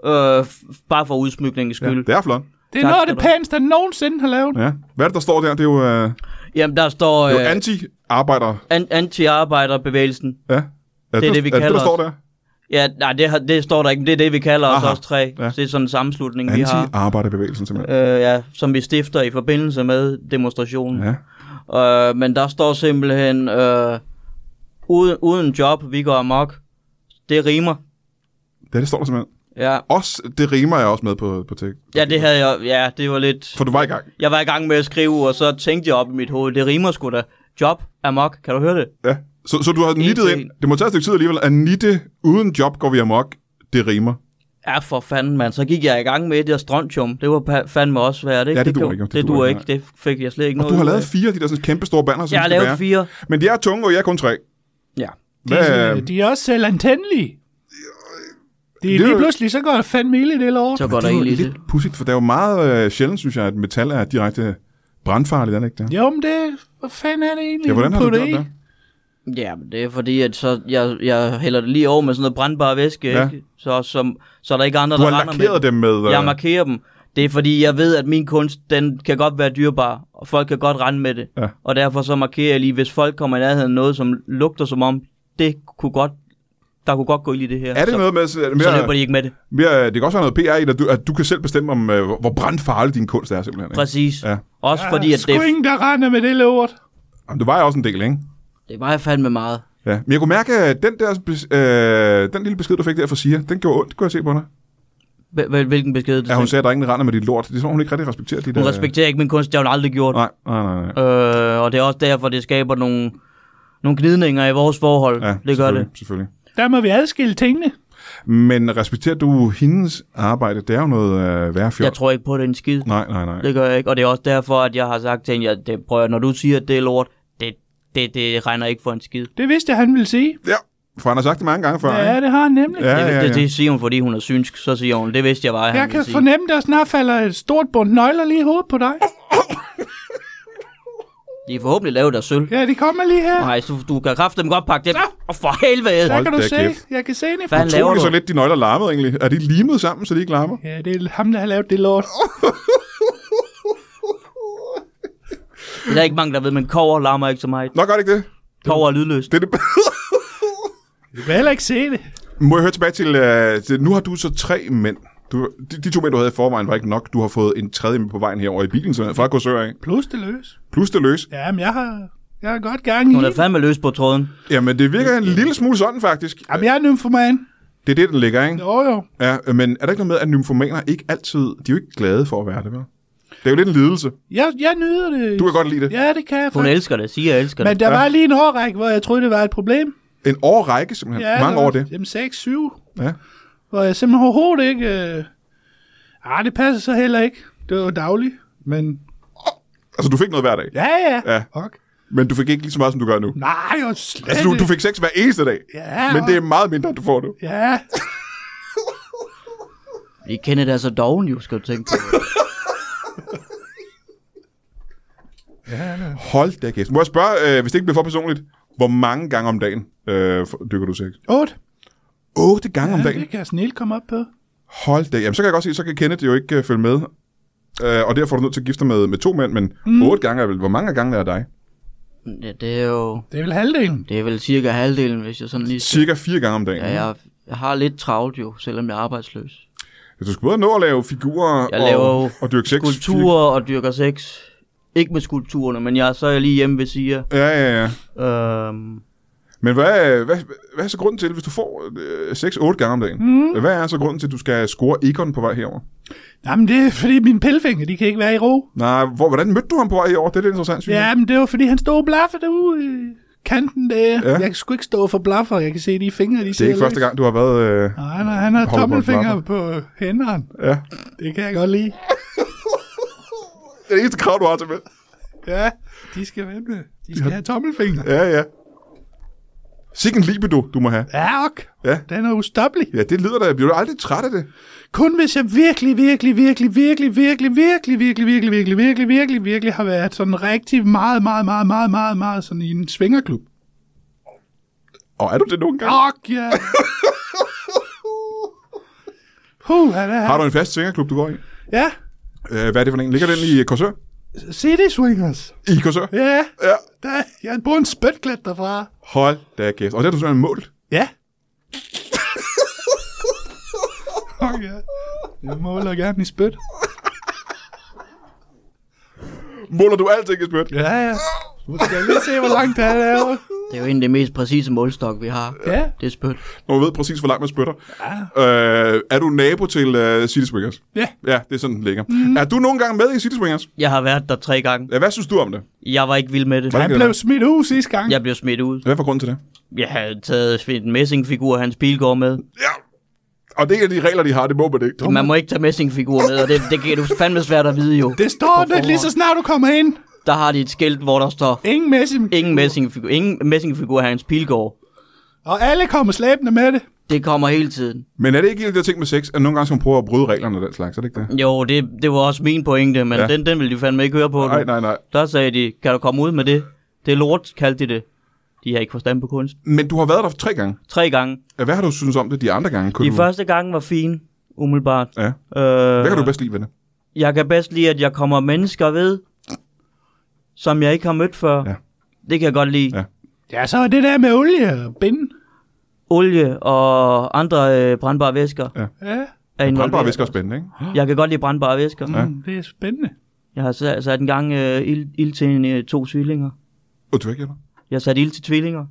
Speaker 2: Ja. Øh, f- bare for udsmykningens
Speaker 1: Ja,
Speaker 2: skyld.
Speaker 1: det er flot.
Speaker 3: det er
Speaker 2: Tak
Speaker 3: noget af
Speaker 2: skal
Speaker 3: det
Speaker 2: du have.
Speaker 3: pæneste, han nogensinde har lavet.
Speaker 1: Ja. Hvad er det, der står der? Det er jo, øh,
Speaker 2: Jamen, der står
Speaker 1: det er jo
Speaker 2: øh,
Speaker 1: anti-arbejder.
Speaker 2: an- anti-arbejderbevægelsen.
Speaker 1: Ja. Er
Speaker 2: det, vi
Speaker 1: er det,
Speaker 2: kalder
Speaker 1: der står
Speaker 2: os.
Speaker 1: der?
Speaker 2: Ja, nej, det, har- det står der ikke, men det er det, vi kalder os
Speaker 1: Aha.
Speaker 2: også tre.
Speaker 1: Ja.
Speaker 2: Ja. Det er sådan en sammenslutning, vi har.
Speaker 1: Anti-arbejderbevægelsen simpelthen.
Speaker 2: Øh, ja, som vi stifter i forbindelse med demonstrationen.
Speaker 1: Ja.
Speaker 2: Øh, men der står simpelthen, øh, uden, uden job, vi går amok. Det rimer.
Speaker 1: Det, er det står der simpelthen.
Speaker 2: Ja,
Speaker 1: Også, det rimer jeg også med på, på tek.
Speaker 2: ja det havde jeg, ja, det var lidt...
Speaker 1: For du var i gang.
Speaker 2: Jeg var i gang med at skrive, og så tænkte jeg op i mit hoved, det rimer sgu da. Job, amok, kan du høre det?
Speaker 1: Ja. Så, så du har nittet
Speaker 2: til
Speaker 1: ind.
Speaker 2: en.
Speaker 1: Det må tage et stykke tid alligevel. At nitte uden job går vi amok. Det rimer.
Speaker 2: Ja, for fanden, mand. Så gik jeg i gang med det og strontium. Det var pa- fandme også svært, ikke?
Speaker 1: Ja, det duer
Speaker 2: kan-
Speaker 1: ikke, det
Speaker 2: Det
Speaker 1: duer
Speaker 2: duer
Speaker 1: ikke,
Speaker 2: ikke. Det fik jeg slet ikke
Speaker 1: Og
Speaker 2: noget
Speaker 1: du har
Speaker 2: ud af.
Speaker 1: lavet fire af de der sådan kæmpe store banner, som
Speaker 2: Jeg har
Speaker 1: skal
Speaker 2: lavet
Speaker 1: være.
Speaker 2: fire.
Speaker 1: Men de er tunge, og jeg er kun tre.
Speaker 2: Ja.
Speaker 1: Hvad, øh,
Speaker 2: øh,
Speaker 3: De, de er også selv antændelige. De,
Speaker 1: Det er
Speaker 3: lige
Speaker 1: jo-
Speaker 3: pludselig, så går der fandme ild i det lort.
Speaker 2: Så går
Speaker 1: det
Speaker 2: der
Speaker 1: er jo
Speaker 2: egentlig det.
Speaker 1: lidt pudsigt, for det er jo meget øh, sjældent, synes jeg, at metal er direkte brandfarligt, er det ikke det?
Speaker 3: Jo, men det... Hvad fanden er det egentlig?
Speaker 1: Ja, hvordan har du
Speaker 3: putter
Speaker 1: gjort
Speaker 3: i?
Speaker 1: det?
Speaker 2: Ja, men det er fordi, at så jeg, jeg hælder det lige over med sådan noget brandbar væske,
Speaker 1: Ja.
Speaker 2: ja. ikke? Så, som, så er der ikke andre,
Speaker 1: Du
Speaker 2: der
Speaker 1: har
Speaker 2: render med
Speaker 1: lakeret dem med... Øh,
Speaker 2: Jeg markerer dem. Det er fordi, jeg ved, at min kunst, den kan godt være dyrbar, og folk kan godt rende med det.
Speaker 1: Ja.
Speaker 2: Og derfor så markerer jeg lige, hvis folk kommer i nærheden af noget, som lugter som om, det kunne godt, der kunne godt gå ild i det her.
Speaker 1: er det
Speaker 2: så,
Speaker 1: noget med... Så, er det
Speaker 2: så
Speaker 1: mere,
Speaker 2: løber de ikke med det.
Speaker 1: mere, det kan også være noget PR i, at du, at du kan selv bestemme, om, øh, hvor brandfarlig din kunst er, simpelthen. Ikke?
Speaker 2: Præcis.
Speaker 1: Ja.
Speaker 2: Også
Speaker 3: Ja,
Speaker 2: fordi, at
Speaker 3: sgu
Speaker 2: det,
Speaker 3: ingen, der render med det lort.
Speaker 1: Jamen, det var jeg også en del, ikke?
Speaker 2: det var jeg fandme meget.
Speaker 1: Ja. Men jeg kunne mærke, at den, der, bes- øh, den lille besked, du fik der fra Sia, den gjorde ondt, kunne jeg se på dig.
Speaker 2: H- h- Hvilken besked det
Speaker 1: Ja, hun
Speaker 2: hun,
Speaker 1: sagde, at der er ingen der render med dit lort. Det er som om, hun ikke rigtig respekterer dit...
Speaker 2: hun respekterer ikke min kunst, det har hun aldrig gjort.
Speaker 1: Nej, nej, nej. nej.
Speaker 2: Øh, og det er også derfor, det skaber nogle, nogle gnidninger i vores forhold.
Speaker 1: Ja,
Speaker 2: det gør det.
Speaker 1: selvfølgelig, Selvfølgelig.
Speaker 3: Der må vi adskille tingene.
Speaker 1: Men respekterer du hendes arbejde? Det er jo noget øh, værre fjol.
Speaker 2: Jeg tror ikke på, det er en skid.
Speaker 1: Nej, nej, nej.
Speaker 2: Det gør jeg ikke, og det er også derfor, at jeg har sagt til hende, at det, prøv, at høre, når du siger, at det er lort, det, det, det regner ikke for en skid.
Speaker 3: Det vidste jeg, han ville sige.
Speaker 1: Ja, for han har sagt det mange gange før.
Speaker 3: Ja,
Speaker 1: ikke?
Speaker 3: det har han nemlig.
Speaker 1: ja,
Speaker 2: det,
Speaker 1: ja,
Speaker 2: Det,
Speaker 1: ja.
Speaker 2: det siger hun, fordi hun er synsk, så siger hun, det vidste jeg bare,
Speaker 3: Jeg
Speaker 2: han
Speaker 3: kan
Speaker 2: ville sige.
Speaker 3: fornemme, der snart falder et stort bundt nøgler lige i hovedet på dig.
Speaker 2: De er forhåbentlig lavet af sølv.
Speaker 3: Ja, de kommer lige her.
Speaker 2: Nej, du, du kan kraftigt dem godt pakke det. Og for helvede!
Speaker 3: Der
Speaker 1: Hold
Speaker 3: kan du
Speaker 1: da
Speaker 3: se.
Speaker 1: kæft.
Speaker 3: Jeg kan se det.
Speaker 2: Hvad
Speaker 1: Tror
Speaker 2: laver
Speaker 1: de
Speaker 2: du?
Speaker 1: så lidt, de nøgler larmede egentlig? Er de limet sammen, så de ikke larmer?
Speaker 3: Ja, det er ham, der har lavet det lort.
Speaker 2: Det er der ikke mange, der ved, men kover larmer ikke så meget.
Speaker 1: Nå, gør det ikke det?
Speaker 2: Kover er lydløst.
Speaker 1: det, er det.
Speaker 3: Du kan heller ikke se det.
Speaker 1: Må jeg høre tilbage til, uh, til, nu har du så tre mænd. Du, de, de to mænd, du havde i forvejen, var ikke nok. Du har fået en tredje med på vejen herover i bilen, så fra Korsør af.
Speaker 3: Plus det løs.
Speaker 1: Plus det løs.
Speaker 3: Jamen, jeg har, jeg har godt gang i
Speaker 2: Hun er
Speaker 3: det.
Speaker 2: fandme løs på tråden.
Speaker 1: Jamen, det virker en lille smule sådan, faktisk.
Speaker 3: Jamen, jeg er nymfoman.
Speaker 1: Det er det, den ligger, ikke?
Speaker 3: Jo, jo.
Speaker 1: Ja, men er der ikke noget med, at nymfomaner ikke altid... De er jo ikke glade for at være det, vel? Det er jo lidt en lidelse.
Speaker 3: Jeg, jeg nyder det.
Speaker 1: Du kan godt lide det.
Speaker 3: Ja, det kan jeg
Speaker 2: Hun
Speaker 3: faktisk.
Speaker 2: elsker det, siger jeg elsker det.
Speaker 3: Men der var lige en årrække, hvor jeg troede, det var et problem.
Speaker 1: En årrække, simpelthen. Ja, Mange
Speaker 3: der var-
Speaker 1: år det.
Speaker 3: Jamen, 6-7.
Speaker 1: Ja.
Speaker 3: Hvor jeg simpelthen overhovedet ikke... Øh... Ah, det passer så heller ikke. Det var jo dagligt. Men
Speaker 1: Altså, du fik noget hver dag.
Speaker 3: ja, ja.
Speaker 1: Ja.
Speaker 3: Fuck.
Speaker 1: Men du fik ikke lige så meget, som du gør nu.
Speaker 3: Nej, jo slet
Speaker 1: Altså, du, du
Speaker 3: ikke.
Speaker 1: fik sex hver eneste dag.
Speaker 3: Ja,
Speaker 1: Men det er meget mindre, du får nu.
Speaker 3: Ja.
Speaker 2: I kender det altså doven, jo, skal du tænke på.
Speaker 1: Hold da kæft. Må jeg spørge, øh, hvis det ikke bliver for personligt, hvor mange gange om dagen øh, for- dykker du sex?
Speaker 3: 8.
Speaker 1: 8 gange ja, om
Speaker 3: Ja,
Speaker 1: dagen?
Speaker 3: det kan jeg snilt komme op på.
Speaker 1: Hold da. Jamen, så kan jeg godt se, så kan Kenneth jo ikke øh, følge med. Øh, og derfor er du nødt til at gifte dig med, med to mænd, men mm. 8 gange er vel... Hvor mange gange er dig?
Speaker 2: Ja, det er jo...
Speaker 3: Det er vel halvdelen.
Speaker 2: Det er vel cirka halvdelen, hvis jeg sådan lige... skal-
Speaker 1: Cirka 4 gange om dagen.
Speaker 2: Ja, jeg, jeg har lidt travlt jo, selvom jeg er arbejdsløs.
Speaker 1: Hvis du skulle både nå at lave figurer
Speaker 2: Jeg
Speaker 1: og,
Speaker 2: laver jo
Speaker 1: og dyrke sex.
Speaker 2: Skulpturer og dyrker sex. Ikke med skulpturerne, men jeg, så er jeg lige hjemme ved siger.
Speaker 1: Ja, ja, ja.
Speaker 2: Øhm,
Speaker 1: Men hvad, hvad, hvad er så grunden til, hvis du får øh, 6-8 gange om dagen? Mm. Hvad er så grunden til, at du skal score Egon på vej herover?
Speaker 3: Jamen, det er fordi mine pillefinger, de kan ikke være i ro.
Speaker 1: Nej, hvor, hvordan mødte du ham på vej herover? Det er det interessant, synes jeg.
Speaker 3: Ja, men det var fordi, han stod og blaffede derude i kanten der.
Speaker 1: Ja.
Speaker 3: Ja. Jeg kan sgu ikke stå for blaffer. Jeg kan se de fingre, de
Speaker 1: Det er ikke første gang, du har været... Øh,
Speaker 3: Nej, nej, han har
Speaker 1: Holder på en
Speaker 3: tommelfinger på hænderen.
Speaker 1: ja.
Speaker 3: Det kan jeg godt lide.
Speaker 1: Det er det eneste krav, du har til mig.
Speaker 3: Ja, de skal vente. De skal have tommelfinger.
Speaker 1: Ja, ja. Sikken libido, du må have.
Speaker 3: Ja, ok.
Speaker 1: Ja.
Speaker 3: Den er ustoppelig.
Speaker 1: Ja, det lyder da. Bliver du aldrig træt af det?
Speaker 3: Kun hvis jeg virkelig, virkelig, virkelig, virkelig, virkelig, virkelig, virkelig, virkelig, virkelig, virkelig, virkelig, virkelig har været sådan rigtig meget, meget, meget, meget, meget, meget sådan i en svingerklub.
Speaker 1: Og er du det nogle gange?
Speaker 3: Ok, ja. Huh, er det
Speaker 1: Har
Speaker 3: her?
Speaker 1: du en fast svingerklub, du går i?
Speaker 3: Ja,
Speaker 1: Øh, hvad er det for en? Ligger den i Korsør?
Speaker 3: City Swingers.
Speaker 1: I Korsør?
Speaker 3: Ja,
Speaker 1: Ja.
Speaker 3: der, jeg bruger en spytklat derfra.
Speaker 1: Hold da kæft. Og det har du simpelthen målt.
Speaker 3: Ja. Fuck ja. Jeg måler gerne i spyt.
Speaker 1: Måler du alting i spyt?
Speaker 3: Ja, ja. Nu skal jeg lige se, hvor langt det er lavet.
Speaker 2: det er jo en af de mest præcise målstok, vi har.
Speaker 3: Ja.
Speaker 2: Det er spødt.
Speaker 1: Når man ved præcis, hvor langt man spytter. Ja. Øh, er du nabo til uh, City Swingers?
Speaker 3: Ja.
Speaker 1: Ja, det er sådan, den ligger. Mm. Er du nogle gange med i City Swingers?
Speaker 2: Jeg har været der tre gange.
Speaker 1: Ja, hvad synes du om det?
Speaker 2: Jeg var ikke vild med det.
Speaker 1: Hvad?
Speaker 3: Han blev smidt ud sidste gang.
Speaker 2: Jeg blev smidt ud.
Speaker 1: Hvad var grunden til det?
Speaker 2: Jeg havde taget en messingfigur af Hans Pilgaard med.
Speaker 1: Ja. Og det er de regler, de har, det må man ikke.
Speaker 2: Man må ikke tage messingfigurer med, og det, det kan du fandme svært at vide jo.
Speaker 3: Det står
Speaker 2: På
Speaker 3: det lige så
Speaker 2: forhånd.
Speaker 3: snart du kommer ind.
Speaker 2: Der har de et skilt, hvor der står,
Speaker 3: Ingen messe.
Speaker 2: ingen messingfigur, ingen messingfigur af Hans Pilgaard.
Speaker 3: Og alle kommer slæbende med det.
Speaker 2: Det kommer hele tiden.
Speaker 1: Men er det ikke en af de der ting med sex, at nogle gange skal man prøve at bryde reglerne og den slags? Er det ikke det?
Speaker 2: Jo, det, det var også min pointe, men
Speaker 1: Ja.
Speaker 2: ja. den, den ville de fandme ikke høre på.
Speaker 1: Nej,
Speaker 2: du.
Speaker 1: nej, nej.
Speaker 2: Der sagde de, kan du komme ud med det? Det er lort, kaldte de det. De har ikke forstand på kunst.
Speaker 1: Men du har været der tre gange.
Speaker 2: Tre gange.
Speaker 1: Hvad har du synes om det de andre gange? Kunne
Speaker 2: De
Speaker 1: du...
Speaker 2: første gange var fine, umiddelbart.
Speaker 1: Ja.
Speaker 2: Øh,
Speaker 1: Hvad kan du bedst lide ved det?
Speaker 2: Jeg kan bedst lide, at jeg kommer mennesker ved, som jeg ikke har mødt før.
Speaker 1: Ja.
Speaker 2: Det kan jeg godt lide.
Speaker 1: Ja.
Speaker 2: Ja.
Speaker 3: Ja, så er det der med olie og binde.
Speaker 2: Olie og andre øh, brandbare væsker
Speaker 3: Ja,
Speaker 2: er involveret.
Speaker 1: Brandbare væsker er spændende, ikke?
Speaker 2: Jeg kan godt lide brandbare væsker.
Speaker 1: Ja.
Speaker 3: mm, det er spændende.
Speaker 2: Jeg har sat, sat en gang øh, ild, ild til en, øh, to tvillinger.
Speaker 1: Og du har ikke gjort det?
Speaker 2: Jeg har sat ild til tvillinger.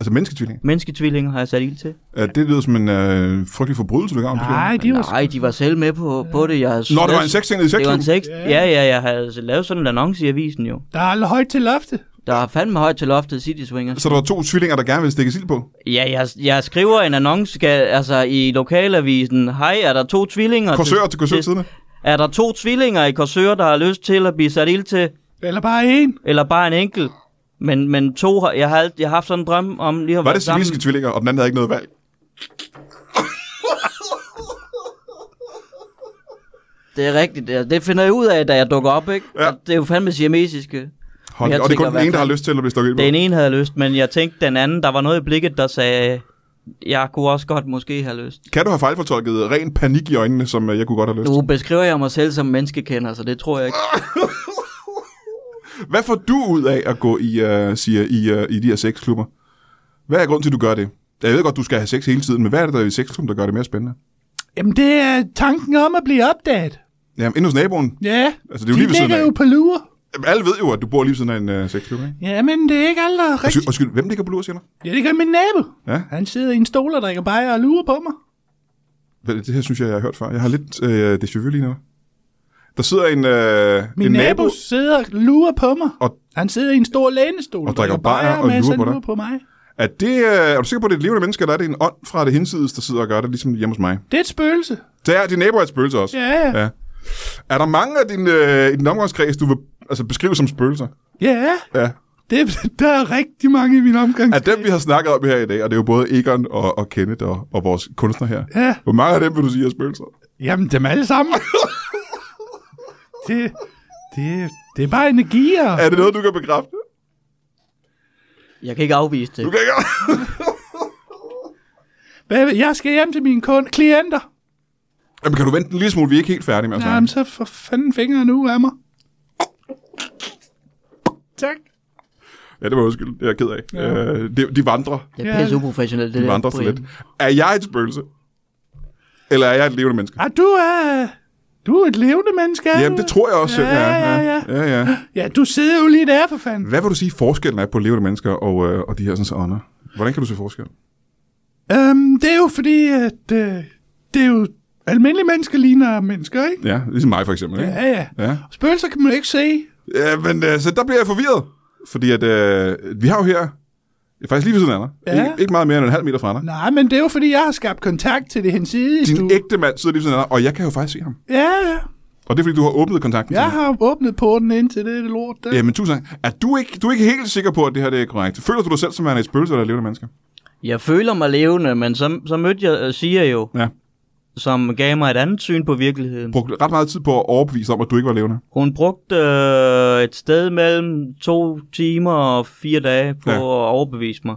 Speaker 1: Altså mennesketvilling.
Speaker 2: Mennesketvillinger har jeg sat ild til.
Speaker 1: Ja, det lyder som en øh, frygtelig forbrydelse, du gør. om det.
Speaker 3: Nej, de var...
Speaker 2: Nej, de var selv med på, på det. Jeg havde
Speaker 1: Nå, det var
Speaker 2: lavet-
Speaker 1: en sexting i
Speaker 2: Det var en
Speaker 1: sexklubben.
Speaker 2: sex. Ja, ja, jeg havde lavet sådan en annonce i avisen jo.
Speaker 3: Der er aldrig højt til loftet.
Speaker 2: Der er fandme højt til loftet City Swingers.
Speaker 1: Så der var to tvillinger, der gerne ville stikke sild på.
Speaker 2: Ja, jeg, jeg skriver en annonce skal, altså, i lokalavisen. Hej, er der to tvillinger?
Speaker 1: Korsør til korsør tiderne.
Speaker 2: Er der to tvillinger i Korsør, der har lyst til at blive sat ild til?
Speaker 3: Eller bare en.
Speaker 2: Eller bare en enkelt? Men, men to, har- jeg har, alt- jeg har haft sådan en drøm om lige at
Speaker 1: Var
Speaker 2: være
Speaker 1: det
Speaker 2: sammen.
Speaker 1: siliske tvillinger, og den anden havde ikke noget valg?
Speaker 2: Det er rigtigt. Det, det finder jeg ud af, da jeg dukker op, ikke?
Speaker 1: Ja.
Speaker 2: Ja. Det er jo fandme siamesiske.
Speaker 1: Hold,
Speaker 2: Jeg
Speaker 1: og det er
Speaker 2: tænker
Speaker 1: kun
Speaker 2: i
Speaker 1: den
Speaker 2: hvert
Speaker 1: ene, der har
Speaker 2: fald-
Speaker 1: lyst til at blive stukket ind på.
Speaker 2: Den ene havde lyst, men jeg tænkte den anden, der var noget i blikket, der sagde, jeg kunne også godt måske have lyst.
Speaker 1: Kan du have fejlfortolket ren panik i øjnene, som øh, jeg kunne godt have lyst til?
Speaker 2: Nu beskriver jeg mig selv som menneskekender, så det tror jeg ikke.
Speaker 1: Hvad får du ud af at gå i, uh, siger, i, uh, i de her sexklubber? Hvad er grunden til, at du gør det? Jeg ved godt, du skal have sex hele tiden, men hvad er det der er i sexklubben, der gør det mere spændende?
Speaker 3: Jamen, det er tanken om at blive opdaget.
Speaker 1: Jamen, inde hos naboen.
Speaker 3: Ja,
Speaker 1: Altså, det er jo lige ved
Speaker 3: de
Speaker 1: siden
Speaker 3: ligger
Speaker 1: af.
Speaker 3: jo på lure.
Speaker 1: Jamen, Alle ved jo, at du bor lige ved siden af en uh, sexklub, ikke?
Speaker 3: Ja, men det er ikke alle, der er
Speaker 1: Undskyld,
Speaker 3: rigtigt.
Speaker 1: undskyld, hvem ligger på lur, siger du?
Speaker 3: Ja, det gør min nabo.
Speaker 1: Ja.
Speaker 3: Han sidder i en stol og drikker bajer og lurer på mig.
Speaker 1: Hvad- Det her synes jeg, jeg har hørt før. Jeg har lidt øh, det selvfølgelig lige nu. Der sidder en, øh,
Speaker 3: Min
Speaker 1: en
Speaker 3: nabo
Speaker 1: nabo,
Speaker 3: sidder og lurer på mig.
Speaker 1: Og-
Speaker 3: han sidder i en stor lænestol
Speaker 1: Og drikker
Speaker 3: bajere,
Speaker 1: bajer og
Speaker 3: mens
Speaker 1: lurer
Speaker 3: han
Speaker 1: på dig.
Speaker 3: lurer på mig.
Speaker 1: Er, det, øh, er du sikker på, at det er et levende menneske, eller er det en ånd fra det hinsides, der sidder og gør det, ligesom hjemme hos mig?
Speaker 3: Det er et spøgelse.
Speaker 1: Det er, din nabo er et spøgelse også.
Speaker 3: Ja, ja.
Speaker 1: ja. Er der mange af din, øh, i din omgangskreds, du vil altså, beskrive som spøgelser?
Speaker 3: Ja,
Speaker 1: Ja.
Speaker 3: det, der er rigtig mange i min omgang.
Speaker 1: Af dem, vi har snakket om her i dag, og det er jo både Egon og, og Kenneth og, og vores kunstner her.
Speaker 3: Ja,
Speaker 1: Hvor mange af dem vil du sige er spøgelser?
Speaker 3: jamen dem alle sammen. det, det, det er bare energier.
Speaker 1: Er det noget, du kan bekræfte?
Speaker 2: Jeg kan ikke afvise
Speaker 1: Du
Speaker 2: det.
Speaker 1: kan ikke...
Speaker 3: Hvad- Jeg skal hjem til mine kun- klienter.
Speaker 1: Jamen, kan du vente en lille smule? Vi er ikke helt færdige med at
Speaker 3: Jamen,
Speaker 1: snakke.
Speaker 3: så for fanden fingeren nu af mig. Tak.
Speaker 1: Ja, det var undskyld. Det er jeg ked af. Ja. Øh, de, de vandrer.
Speaker 2: Det
Speaker 3: Ja.
Speaker 2: er pisse uprofessionelt, det
Speaker 1: De
Speaker 2: der.
Speaker 1: vandrer så
Speaker 2: Brian.
Speaker 1: lidt. Er jeg et spøgelse? Eller er jeg et levende menneske?
Speaker 3: Ah, du er... Du er et levende menneske, er
Speaker 1: Jamen,
Speaker 3: du?
Speaker 1: det tror jeg også.
Speaker 3: Ja, ja, ja.
Speaker 1: ja, ja.
Speaker 3: Ja, du sidder jo lige der, for fanden.
Speaker 1: Hvad vil du sige, forskellen er på levende mennesker og, øh, og de her sådan så ånder? Hvordan kan du se forskel?
Speaker 3: Øhm, det er jo fordi, at... Øh, det er jo... Almindelige mennesker ligner mennesker, ikke?
Speaker 1: Ja, ligesom mig for eksempel. Ikke?
Speaker 3: Ja, ja.
Speaker 1: ja.
Speaker 3: Spøgelser kan man jo ikke se.
Speaker 1: ja men øh, så der bliver jeg forvirret. Fordi at øh, vi har jo her, faktisk lige ved siden af dig,
Speaker 3: Ja.
Speaker 1: ikke, ikke meget mere end en halv meter fra dig.
Speaker 3: Nej, men det er jo fordi, jeg har skabt kontakt til det hensides.
Speaker 1: Din
Speaker 3: du.
Speaker 1: ægte mand sidder lige ved siden af dig, og jeg kan jo faktisk se ham.
Speaker 3: Ja, ja.
Speaker 1: Og det er fordi, du har åbnet kontakten til
Speaker 3: Jeg
Speaker 1: ham.
Speaker 3: har åbnet porten ind til det lort der.
Speaker 1: Altså- Jamen, Øh, tusind tak. Er du ikke, du er ikke helt sikker på, at det her det er korrekt? Føler du dig selv som værende et spøgelse eller et levende menneske?
Speaker 2: Jeg føler mig levende, men så, så mødte jeg øh, Sia jo,
Speaker 1: Ja.
Speaker 2: som gav mig et andet syn på virkeligheden.
Speaker 1: Brugte ret meget tid på at overbevise om, at du ikke var levende.
Speaker 2: Hun brugte øh, et sted mellem to timer og fire dage på
Speaker 1: Ja.
Speaker 2: ja. at overbevise mig.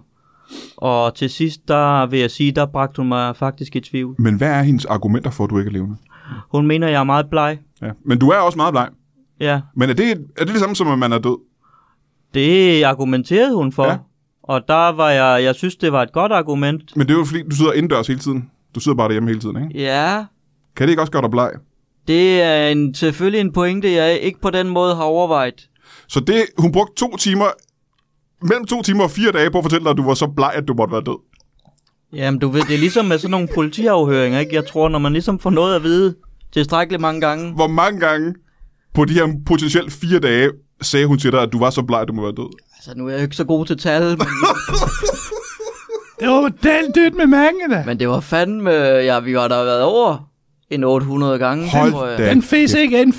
Speaker 2: Og til sidst, der vil jeg sige, der bragte hun mig faktisk i tvivl.
Speaker 1: Men hvad er hendes argumenter for, at du ikke er levende?
Speaker 2: Hun mener, jeg er meget bleg.
Speaker 1: Ja. Men du er også meget bleg.
Speaker 2: Ja,
Speaker 1: Men er det, er det det samme som, at man er død?
Speaker 2: det argumenterede hun for.
Speaker 1: Ja.
Speaker 2: Ja. Og der var jeg, jeg synes, det var et godt argument.
Speaker 1: Men det er jo fordi, du sidder indendørs hele tiden. Du sidder bare derhjemme hele tiden, ikke?
Speaker 2: Ja,
Speaker 1: Kan det ikke også gøre dig bleg?
Speaker 2: det er en, selvfølgelig en pointe, jeg ikke på den måde har overvejet.
Speaker 1: Så det, hun brugte to timer, mellem to timer og fire dage på at fortælle dig, at du var så bleg, at du måtte være død.
Speaker 2: Jamen, du ved, det er ligesom med sådan nogle politiafhøringer, ikke? Jeg tror, når man ligesom får noget at vide tilstrækkeligt mange gange,
Speaker 1: Hvor mange gange på de her potentielt fire dage, sagde hun til dig, at du var så bleg, at du må være død?
Speaker 2: altså nu er jeg jo ikke så god til tal, men,
Speaker 3: Det var den dyt med mange, da.
Speaker 2: men det var fandme, ja, vi har da været over en 800 gange,
Speaker 1: Hold
Speaker 2: tror jeg.
Speaker 1: da.
Speaker 3: Den fes ikke ind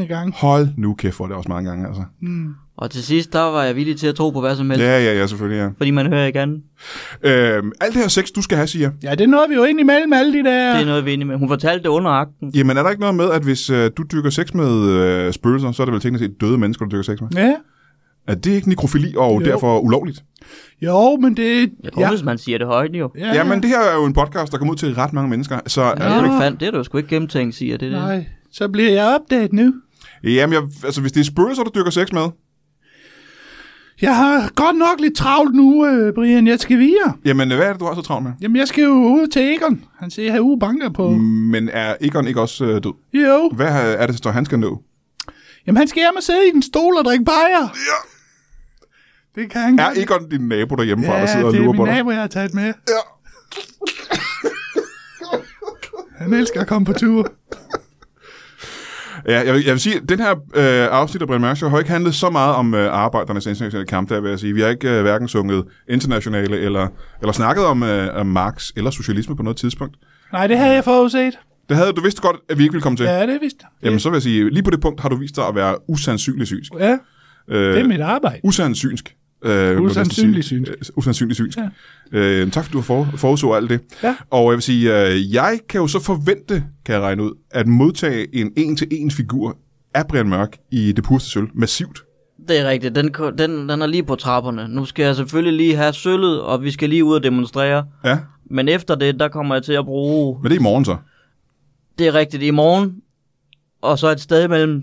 Speaker 3: 40.000 gange.
Speaker 1: Hold nu kæft, for det er også mange gange, altså.
Speaker 2: Og til sidst, der var jeg villig til at tro på hvad som helst, ja.
Speaker 1: Ja, ja, ja, selvfølgelig, ja.
Speaker 2: fordi man hører ikke andet.
Speaker 1: Øhm, alt det her sex, du skal have, siger
Speaker 3: Ja, det nåede vi jo ind imellem alle de der...
Speaker 2: Det er noget, vi er enige med. Hun fortalte det under akten.
Speaker 1: Jamen, er der ikke noget med, at hvis øh, du dyrker sex med øh, spøgelser, så er det vel teknisk set døde mennesker, du dyrker sex med?
Speaker 3: Ja.
Speaker 1: Er det ikke nekrofili og jo.
Speaker 3: Jo.
Speaker 1: derfor ulovligt?
Speaker 3: Jo, men det...
Speaker 2: Jeg tror, ja. hvis man siger det højt, jo.
Speaker 1: Ja. Jamen, det her er jo en podcast, der kommer ud til ret mange mennesker. Så,
Speaker 2: Ja.
Speaker 1: ja.
Speaker 2: Det, er du ikke fandt, det er du sgu ikke gennemtænkt, siger det. Der.
Speaker 3: Nej, så bliver jeg opdaget nu.
Speaker 1: jamen, jeg, altså, hvis det er spøgelser, du dyrker sex med,
Speaker 3: Jeg har godt nok lidt travlt nu, øh, Brian. Jeg skal videre.
Speaker 1: jamen, hvad er det, du har så travlt med?
Speaker 3: Jamen, jeg skal jo ud til Egon. Han siger, at jeg har uge banker på. Mm.
Speaker 1: Men er Egon ikke også øh, død?
Speaker 3: Jo.
Speaker 1: Hvad har- er det, der han skal nå?
Speaker 3: Jamen, han skal hjem og sidde i en stol og drikke bajer.
Speaker 1: Ja.
Speaker 3: Det kan han
Speaker 1: Er
Speaker 3: godt.
Speaker 1: Egon din nabo derhjemmefra,
Speaker 3: Ja,
Speaker 1: der sidder og
Speaker 3: det er
Speaker 1: lurer på
Speaker 3: min
Speaker 1: dig?
Speaker 3: nabo, jeg har taget med.
Speaker 1: Ja.
Speaker 3: Han elsker at komme på tur.
Speaker 1: Ja, jeg, vil, jeg vil sige, at den her øh, afsnit af Brian Mørk Show har jo ikke handlet så meget om øh, arbejdernes internationale kamp, der vil jeg sige. Vi har ikke øh, hverken sunget internationale eller, eller snakket om, øh, om Marx eller socialisme på noget tidspunkt.
Speaker 3: Nej, det havde jeg forudset.
Speaker 1: Det havde du vidst godt, at vi ikke ville komme til. Ja.
Speaker 3: Ja, det vidste jeg.
Speaker 1: Jamen, så vil jeg sige, lige på det punkt har du vist dig at være usandsynlig synsk.
Speaker 3: Ja, det
Speaker 1: Øh,
Speaker 3: er mit arbejde.
Speaker 1: usandsynsk. Øh,
Speaker 3: Usandsynlig synsk.
Speaker 1: Usandsynlig synsk. Ja. Øh, tak, fordi du har for, forudså alt det.
Speaker 3: Ja.
Speaker 1: Og jeg vil sige, øh, jeg kan jo så forvente, kan jeg regne ud, at modtage en en-til-en figur af Brian Mørk i det purste sølv massivt
Speaker 2: Det er rigtigt. Den, ko- den, den er lige på trapperne. Nu skal jeg selvfølgelig lige have sølvet, og vi skal lige ud og demonstrere.
Speaker 1: Ja,
Speaker 2: Men efter det, der kommer jeg til at bruge...
Speaker 1: men det er i morgen så.
Speaker 2: Det er rigtigt i morgen, og så et sted mellem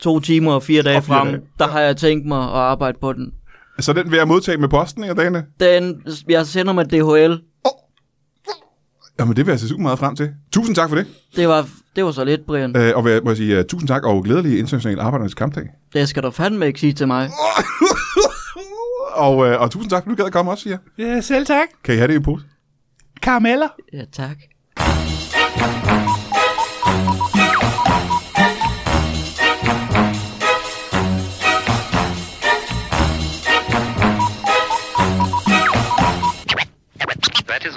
Speaker 2: to timer og fire dage
Speaker 1: Og fire
Speaker 2: frem,
Speaker 1: dage.
Speaker 2: der har jeg tænkt mig at arbejde på den.
Speaker 1: Så den vil jeg modtage med posten i dagene?
Speaker 2: Den, jeg sender med DHL.
Speaker 1: Jamen, det vil jeg se super meget frem til. Tusind tak for det.
Speaker 2: Det var, det var så lidt, Brian.
Speaker 1: Øh, og vil jeg- må jeg sige uh, tusind tak og glædelig international arbejdernes kampdag.
Speaker 2: Det skal du fandme ikke sige til mig.
Speaker 1: og, uh, og tusind tak, fordi du gad at komme også, siger jeg.
Speaker 3: Ja, selv tak.
Speaker 1: Kan I have det i en pose?
Speaker 3: Karameller.
Speaker 2: Ja, tak.
Speaker 4: That is